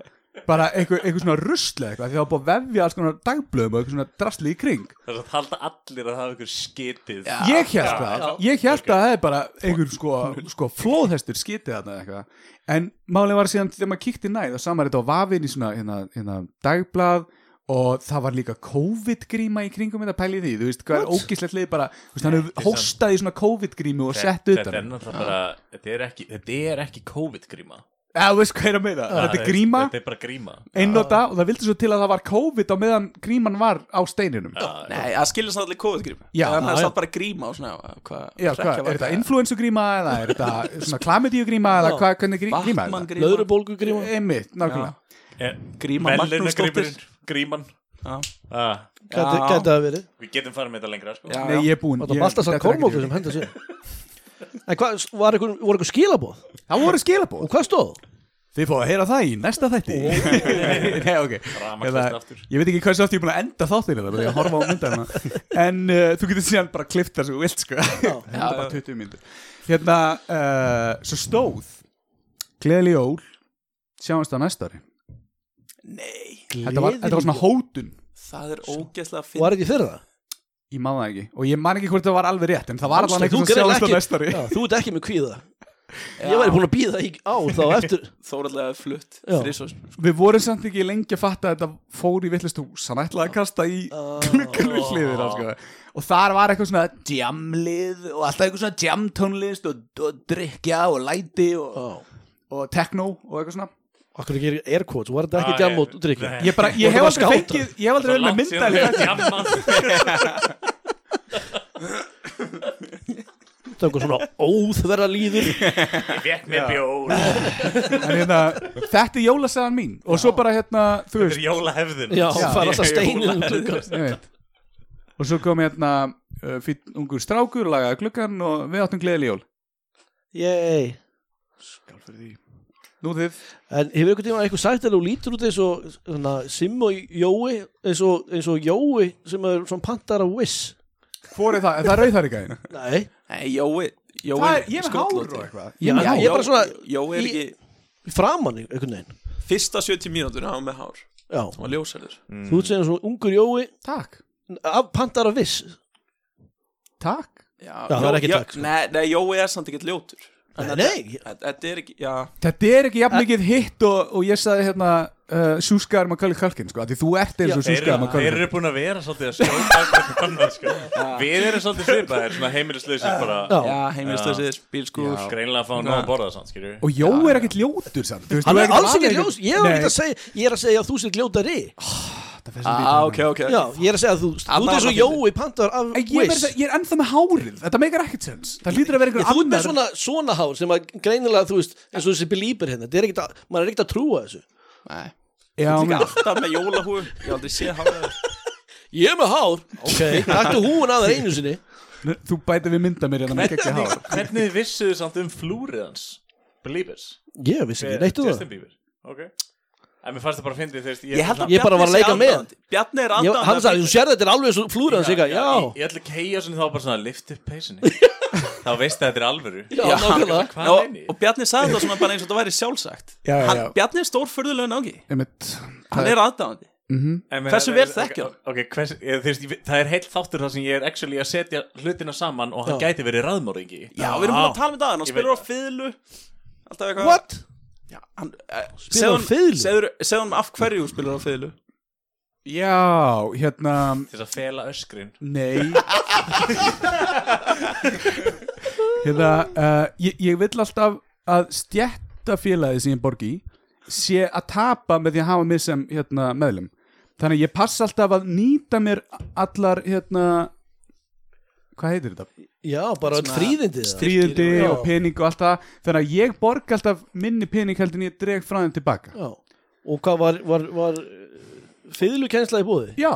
Speaker 3: bara einhver, einhver svona rusla eitthvað því það var búið að vefja alls konar dagblöðum og einhver svona drasli í kring
Speaker 4: Þess að halda allir að hafa ykkur skitið
Speaker 3: ég held það, ég held að það er bara einhver sko, sko flóðhestur skitið þarna eða eitthvað, en málið var síðan þegar maður kíkti næð og samar þetta á vafin í svona hérna, hérna, dagblað og það var líka COVID-gríma í kringum þetta pælið því, þú veist, hvað er ógislegt leið bara, þú veist, hann hefur hóstað í svona COVID-grímu og sett
Speaker 4: Þetta er
Speaker 3: utan, um.
Speaker 4: náttúrulega bara, þetta er ekki, þetta er ekki COVID-gríma
Speaker 3: eða þú veist hvað er að meina þetta er gríma,
Speaker 4: Þetta er bara gríma
Speaker 3: einnota og það vildi svo til að það var COVID á meðan gríman var á steininum
Speaker 2: Nei, það skilur samt allir COVID-gríma
Speaker 3: Já,
Speaker 2: Það er
Speaker 3: já.
Speaker 2: samt bara gríma og svona hvað-
Speaker 3: Já,
Speaker 2: hrekkja
Speaker 3: hvað,
Speaker 2: var
Speaker 3: er þetta influensugríma eða er þetta svona klamidíugríma eða hvað, hvernig grí- gríma er þetta?
Speaker 2: Batman-gríma
Speaker 5: Löðrubólgu gríma
Speaker 3: Einmitt, nákvæmlega
Speaker 2: Gríma Magnúsdóttir
Speaker 4: Magnúsdóttir Eh, Gríman
Speaker 2: Já.
Speaker 4: ah,
Speaker 5: Gæti
Speaker 2: Já.
Speaker 5: gæti það verið
Speaker 4: Við getum farið með þetta lengra sko.
Speaker 2: Já,
Speaker 3: Nei,
Speaker 2: já.
Speaker 3: ég er búinn
Speaker 5: Það
Speaker 3: ég-
Speaker 5: var alltaf
Speaker 3: þetta er
Speaker 5: það
Speaker 3: ekki
Speaker 5: kólmókur
Speaker 3: rétt.
Speaker 5: sem henda sér En hvað, var einhver, voru einhver skilabóð?
Speaker 3: Það voru skilabóð
Speaker 5: Og hvað stóð?
Speaker 3: Þið fóðu að heyra það í næsta þætti Nei, ok
Speaker 4: Rafmagnslaust
Speaker 3: Eða-
Speaker 4: aftur.
Speaker 3: Ég veit ekki hversu oft ég er búin að enda þáttinn Það er að horfa á myndana En uh, þú getur síðan bara klifta svo vilt sko Enda bara 20 myndir Hérna, uh, svo stóð Gleðli jól Sjáumst á næsta ári
Speaker 2: Nei,
Speaker 3: Þetta var, þetta var svona hótun
Speaker 2: það er ógeðslega
Speaker 5: Og var
Speaker 2: fyrir
Speaker 5: ekki fyrir það?
Speaker 3: Ég man það ekki Og ég man ekki hvort það var alveg rétt En það var allan
Speaker 5: Þú
Speaker 3: eitthvað
Speaker 5: greinilega
Speaker 3: sjáumst á
Speaker 5: ekki-
Speaker 3: næsta ári
Speaker 5: Já, Þú ert ekki með kvíða Ég væri búin að býða í á þá eftir
Speaker 2: Þórallega flutt
Speaker 5: Já.
Speaker 2: þrisvar.
Speaker 3: Við vorum samt ekki lengi að fatta að þetta fór í vittlust hús Hann ætlaði að kasta í klukkan við hliðina sko. Og þar var eitthvað svona djamlið og alltaf eitthvað svona djamtónlist og, og drikja og læti og,
Speaker 5: Ah.
Speaker 3: og techno og eitthvað svona
Speaker 5: Akkur ekki er airquotes, var þetta
Speaker 4: Ah,
Speaker 5: ekki jam og
Speaker 4: ég-
Speaker 5: drikja?
Speaker 4: Nei.
Speaker 3: Ég, bara,
Speaker 5: Voru
Speaker 3: ég hef
Speaker 5: bara
Speaker 3: aldrei
Speaker 5: skátar?
Speaker 3: fengið, ég hef aldrei verið með myndali
Speaker 5: Það var einhver svona óþverra líður
Speaker 4: Ég vekk með bjór
Speaker 3: En hérna, þetta er jólasagan mín Og svo bara hérna, þú
Speaker 4: Þetta
Speaker 3: veist
Speaker 4: er jólahefðin
Speaker 5: Já, það var alltaf steinir um gluggann.
Speaker 3: Ég veit. Og svo kom hérna uh, fýtt ungur strákur, lagaði gluggan og við áttum gleðileg jól
Speaker 5: Yey
Speaker 3: Nú þið
Speaker 5: En hefur einhvern tímann eitthvað sagt að þú lítur út eins og svona, Sim og Jói eins og, eins og Jói sem er svona pantar af Wiss
Speaker 3: Hvor er það? En það er rauðhæringaðin
Speaker 5: Nei,
Speaker 2: Nei, Jói Jói
Speaker 3: Það er, ég er hár
Speaker 2: sköllóttur.
Speaker 3: og eitthvað
Speaker 5: Já,
Speaker 3: Ég er með
Speaker 5: já,
Speaker 3: hár.
Speaker 5: ég- er bara svona-
Speaker 2: Jói er
Speaker 5: í-
Speaker 2: ekki
Speaker 5: framan í einhvern veginn
Speaker 2: Fyrsta 70 mínútur hafa með hár Hann
Speaker 5: Já,
Speaker 2: var ljósarður
Speaker 5: þú ert segja svona ungur Jói
Speaker 3: Takk,
Speaker 5: af pantar af Wiss
Speaker 3: takk
Speaker 2: Já,
Speaker 5: Já, það
Speaker 2: Jó-
Speaker 5: er ekki
Speaker 2: Jó-
Speaker 5: takk, sko.
Speaker 2: Nei, nei, Jói er samt ekkert ljótur
Speaker 5: Nei, nei,
Speaker 2: Þe- Þetta er ekki, já
Speaker 3: Þetta er ekki jafn mikið hitt og, og ég saði hérna uh, Sjúskaðar maður kallir kalkinn sko af Því þú ert eins og
Speaker 4: Þeir
Speaker 3: sjúskaðar
Speaker 4: eru,
Speaker 3: maður
Speaker 4: þeir
Speaker 3: kallir
Speaker 4: eru búin að vera svolítið að skjóta hvern annan, sko. Við erum svolítið svipaðir Svona heimilislausir bara
Speaker 5: já
Speaker 2: Já, heimilislausir, bílskúr
Speaker 4: Greinlega að fá nóg að borða samt, skilju
Speaker 3: Og Jó er ekkert ljótur samt þú veist,
Speaker 5: Hann
Speaker 3: þú
Speaker 5: er
Speaker 3: ekkert
Speaker 5: alls ekki
Speaker 3: vanur
Speaker 5: ljós, ég er,
Speaker 3: Nei,
Speaker 5: ekki að segja, ég er að segja að þú sér gljótari
Speaker 3: þetta fer sem
Speaker 5: Ah,
Speaker 2: Já,
Speaker 3: lítið.
Speaker 2: ok, ok
Speaker 5: Já, ég er að segja að þú, þú ert eins og Jói pantar af
Speaker 3: En ég,
Speaker 5: Wiss
Speaker 3: meiris, ég er ennþá með hárið Þetta meikar ekkert sens Það hlýtur að vera
Speaker 5: Þú ert
Speaker 3: einhver
Speaker 5: með svona, svona hár sem að greinilega, þú veist, eins og þessi belíber hérna, þetta er ekkert að, maður er ekkert að trúa þessu
Speaker 2: Nei.
Speaker 3: Já,
Speaker 2: Líka
Speaker 3: menn-
Speaker 2: alltaf með jólahú Ég hef aldrei séð háraður
Speaker 5: Ég er með hár, ok, taktu húun að þér einu sinni
Speaker 3: Þú bætir við mynda mér hérna með ekki hár
Speaker 4: Hvernig vissuðu samt um flúrið hans? Believers
Speaker 5: Ég vissi ekki, neittu það
Speaker 4: Justin Bieber Ok En mér fannst það bara að fyndi þeirst
Speaker 2: Ég held að
Speaker 5: Ég bara
Speaker 2: Bjarni
Speaker 5: var að
Speaker 2: sé
Speaker 5: leika með.
Speaker 2: aðdáandi. Bjarni er
Speaker 5: Ég,
Speaker 2: aðdáðan
Speaker 5: hann sagði, þú sér þetta er alveg svo flúra hans eitthvað,
Speaker 4: Ég,
Speaker 5: já,
Speaker 4: ég ætla að keia svona þá bara svona lift upp peysinni Þá veist það þetta er alvöru
Speaker 5: já, nákvæmlega
Speaker 4: Hvað
Speaker 2: og,
Speaker 4: meini ég?
Speaker 2: og Bjarni sagði það svona bara eins og það væri sjálfsagt
Speaker 3: Já, já,
Speaker 2: Hann,
Speaker 3: já.
Speaker 2: Bjarni er stórfurðulega nági
Speaker 3: Einmitt.
Speaker 2: Hann er aðdáðandi
Speaker 4: En meina,
Speaker 2: hversu
Speaker 4: það-
Speaker 2: vel
Speaker 4: ok,
Speaker 2: þekkja hann?
Speaker 4: ok, hvers, ég, þvist, ég, Það er heilt þáttur þar sem ég er actually að setja hlutina saman og hann
Speaker 5: Já.
Speaker 4: gæti verið raðmóringi
Speaker 2: Já, við erum búin að tala með það Hann
Speaker 4: Ég
Speaker 2: spilur á
Speaker 4: veit.
Speaker 2: fiðlu Alltaf eitthvað
Speaker 5: What?
Speaker 2: Já, hann, eh,
Speaker 5: Spilur á
Speaker 2: segðu-
Speaker 5: fiðlu?
Speaker 2: segðu- Segðu hann af hverju þú spilar á fiðlu
Speaker 3: Já, hérna
Speaker 4: Til þess að fela öskrin
Speaker 3: Nei hérna, uh, ég, ég vill alltaf að stjættafélagið sem ég borgi í sé að tapa með því að hafa mig sem hérna, meðlum þannig að ég passa alltaf að nýta mér allar hérna hvað heitir þetta?
Speaker 5: já, bara öll fríðindi það.
Speaker 3: fríðindi
Speaker 5: já.
Speaker 3: og pening og allt það þannig að ég borg alltaf minni pening heldur en ég dreg frá þeim tilbaka
Speaker 5: Já. og hvað var, var, var fyrðlukensla í búði
Speaker 3: já,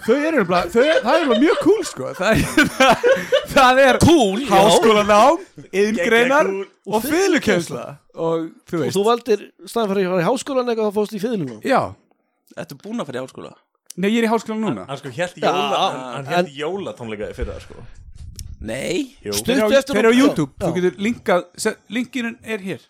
Speaker 3: þau eru bara, þau, það er bara mjög cool sko það er, það er
Speaker 5: Kúl, já.
Speaker 3: háskólanám, yðgreinar og fyrirkensla og þú
Speaker 5: og
Speaker 3: veist
Speaker 5: þú valdir staðan fyrir að fara í háskólan eitthvað þá fórst í fyrðlunum
Speaker 3: já,
Speaker 2: Þetta er búin að fara í háskóla
Speaker 3: nei ég er í háskólan núna
Speaker 4: Hann sko hélt jóla,
Speaker 5: Já,
Speaker 4: hann, hann
Speaker 5: en-
Speaker 4: hélt jólatónleika fyrir það sko
Speaker 2: Nei,
Speaker 4: Jú.
Speaker 5: Stuttu eftir
Speaker 3: fyrir á
Speaker 5: já,
Speaker 3: YouTube,
Speaker 5: já.
Speaker 3: þú getur linkað se- linkinun er hér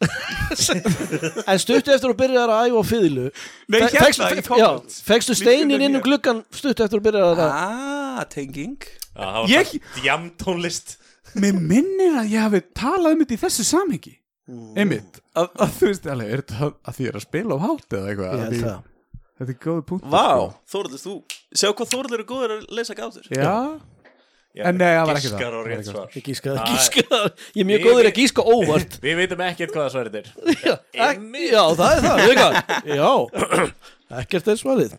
Speaker 5: en stuttu eftir að byrja að æfa á fyrðlu
Speaker 3: Nei, hérna, í Kópavogs.
Speaker 5: fegstu steinin
Speaker 3: Linkurinn
Speaker 5: inn um
Speaker 3: hér.
Speaker 5: gluggan stuttu eftir að byrja að það
Speaker 2: ah, tenging
Speaker 4: Já, það var
Speaker 3: Ég-
Speaker 4: svona Djamtónlist
Speaker 3: mér minnir að ég hafi talað um þetta í þessu samhengi
Speaker 5: Mm.
Speaker 3: einmitt, að, að þú veist alveg er þetta að því ég er að spila á hát eða eitthvað
Speaker 5: Ég
Speaker 3: Að
Speaker 5: held
Speaker 3: því-
Speaker 5: það.
Speaker 3: þetta er góð punkt
Speaker 2: Vá, Þórður, þú Sjá hvað Þórður er góður að leysa gátur
Speaker 3: já, En nei, það var ekki það.
Speaker 4: Giskar
Speaker 3: Það
Speaker 4: og
Speaker 3: var
Speaker 4: rétt
Speaker 3: ekki það.
Speaker 4: svar
Speaker 5: Ég gíska,
Speaker 3: Ah.
Speaker 4: Æ.
Speaker 5: gíska, ég er mjög góður að gíska óvart
Speaker 4: Við veitum ekkert hvað það svarið er
Speaker 5: Já, ek- já, það er það, við hvað Já, ekkert er svarið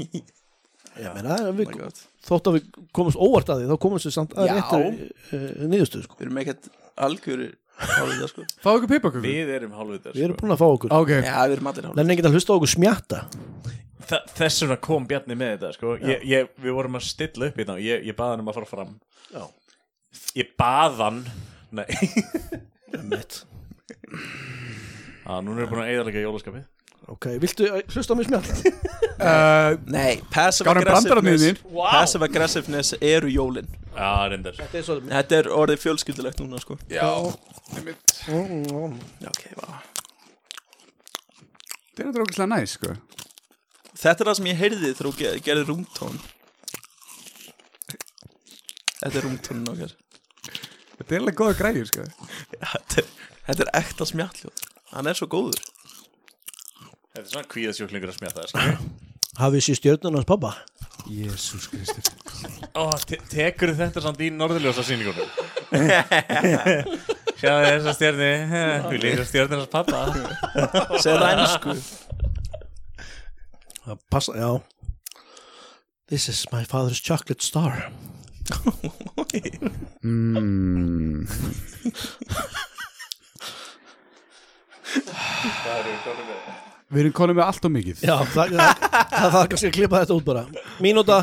Speaker 5: Ég meina,
Speaker 3: Oh
Speaker 5: við,
Speaker 2: God.
Speaker 5: þótt að við komumst óvart að því þá komumst við samt að réttur uh, niðurstöð sko.
Speaker 2: Við erum ekkert algjörir hálfið sko
Speaker 3: fáðu ekki peipaköku
Speaker 4: Við erum hálfvitar sko.
Speaker 5: Við erum búin að fá okkur
Speaker 3: ok,
Speaker 2: Já, við erum allir hálfið
Speaker 5: Nenni ekki að hlusta á okkur smjatta
Speaker 4: Þa- Þess vegna kom Bjarni með þetta sko. ég, ég, Við vorum að stilla upp í þetta og Ég, ég baði hann um að fara fram
Speaker 5: Já.
Speaker 4: Ég baði hann Nei,
Speaker 5: Einmitt.
Speaker 4: Á, núna erum við búin að eðalega jólaskapið
Speaker 5: Ok, viltu eh, hlusta á mig smjatta?
Speaker 3: uh,
Speaker 2: Nei,
Speaker 3: Gáðum brandararnir
Speaker 2: passive-aggressiveness
Speaker 3: þínir.
Speaker 2: Passive-aggressiveness eru jólin
Speaker 4: Já, reyndar
Speaker 5: Þetta er svo
Speaker 2: Þetta er orðið fjölskyldulegt núna sko Já, ok, vá
Speaker 3: þetta er drókislega næs sko
Speaker 2: Þetta er það sem ég heyrði þegar þú ge- gerði rúmtón Þetta er rúmtónin okkar
Speaker 3: þetta er alveg góða græður sko
Speaker 2: Þetta er, þetta er ekta smjalljóð Hann er svo góður
Speaker 4: Þetta er svona kvíðasjóklingur að smjata það sko.
Speaker 5: Hafið sér stjörnun hans pappa?
Speaker 3: Jésús Kristur
Speaker 4: Ó, te Tekur þetta samt í norðurljósa sýningunum Sjáðu þessa stjörni Við líka stjörnir hans pappa
Speaker 2: Segð rænsku
Speaker 4: sko.
Speaker 5: Það Passa, já This is my father's chocolate star
Speaker 3: við erum konum með allt og mikið
Speaker 5: Já, það, það, það þarf kannski að klippa þetta út bara Mínúta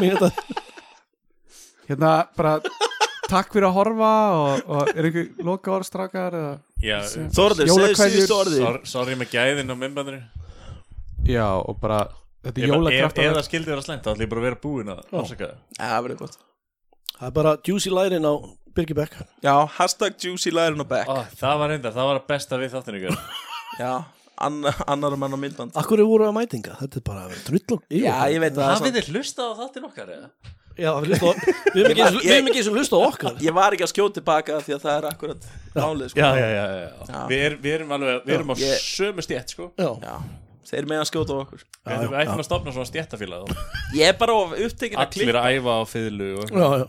Speaker 5: Mínúta
Speaker 3: hérna bara takk fyrir að horfa og, og er einhver loka orðstrakar eða
Speaker 4: Já,
Speaker 2: Þorður, segðu
Speaker 3: Jólakveðjur.
Speaker 2: síðust orðið
Speaker 4: sor- sorry með gæðin á myndbandinu
Speaker 3: já og bara þetta er
Speaker 4: Ef- ef-
Speaker 3: jólakrafta
Speaker 4: Ef það skildi vera slæmt, þá ætlum ég bara að vera búinn að ásaka það.
Speaker 2: Já, það verður gott
Speaker 5: Það er bara juicy lærin á Birgi Beck
Speaker 2: Já, hashtag juicy lærin og back
Speaker 4: Ó, Það var reyndar, það var að besta við þáttinu ykkur.
Speaker 2: Já, anna, annar mann á myndband
Speaker 4: Ah.
Speaker 5: Akkur er voru að mætinga, þetta er bara að vera drull og
Speaker 2: Já, ég veit að það er
Speaker 4: Hafið
Speaker 2: samt-
Speaker 4: þið hlustað á þáttin okkar, eða?
Speaker 5: Já, við hlusta á- við erum ekki eins og- við erum ekki sem hlusta á okkar
Speaker 2: Ég var ekki að skjóta tilbaka því að það er akkurat Málið, sko
Speaker 4: já, já, já. Við, er, við erum alveg, við erum á
Speaker 2: ég-
Speaker 4: sömu stjætt, sko.
Speaker 5: Já,
Speaker 2: Já, þeir meina að skjóta á okkur
Speaker 4: Við ætlum- við ætlum að stopna svona stjættafélag. þá.
Speaker 2: Ég er bara of upptekinn að
Speaker 4: Allir
Speaker 2: klippa
Speaker 4: að æfa á fiðlu og...
Speaker 5: já, já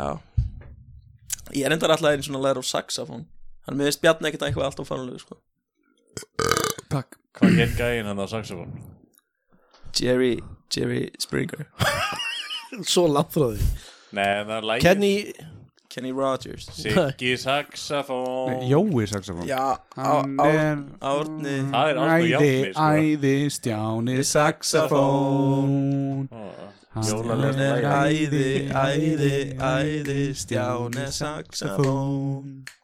Speaker 2: Já Ég er endar alltaf einu svona læra á saxafón Hann miðist Bjarni ekkert eitthvað allt á farlegu, sko
Speaker 3: takk
Speaker 4: Hvað hétt gæðin hann á saxofón?
Speaker 2: Jerry, Jerry Springer
Speaker 5: Svo langt frá því
Speaker 4: Nei, það er lægið.
Speaker 5: Kenny,
Speaker 2: Kenny Rogers
Speaker 4: Siggi saxofón.
Speaker 3: Jói saxofón
Speaker 2: Já, á-
Speaker 3: Hann
Speaker 2: á-
Speaker 3: er-
Speaker 2: Árni
Speaker 4: Það er alveg
Speaker 3: æði,
Speaker 4: játnir, sko.
Speaker 3: æði, stjáni saxofón
Speaker 4: Ah.
Speaker 2: Hann
Speaker 4: Jólalegt
Speaker 2: er æði,
Speaker 4: lægið.
Speaker 2: æði, æði Stjáni saxafón
Speaker 3: saxofón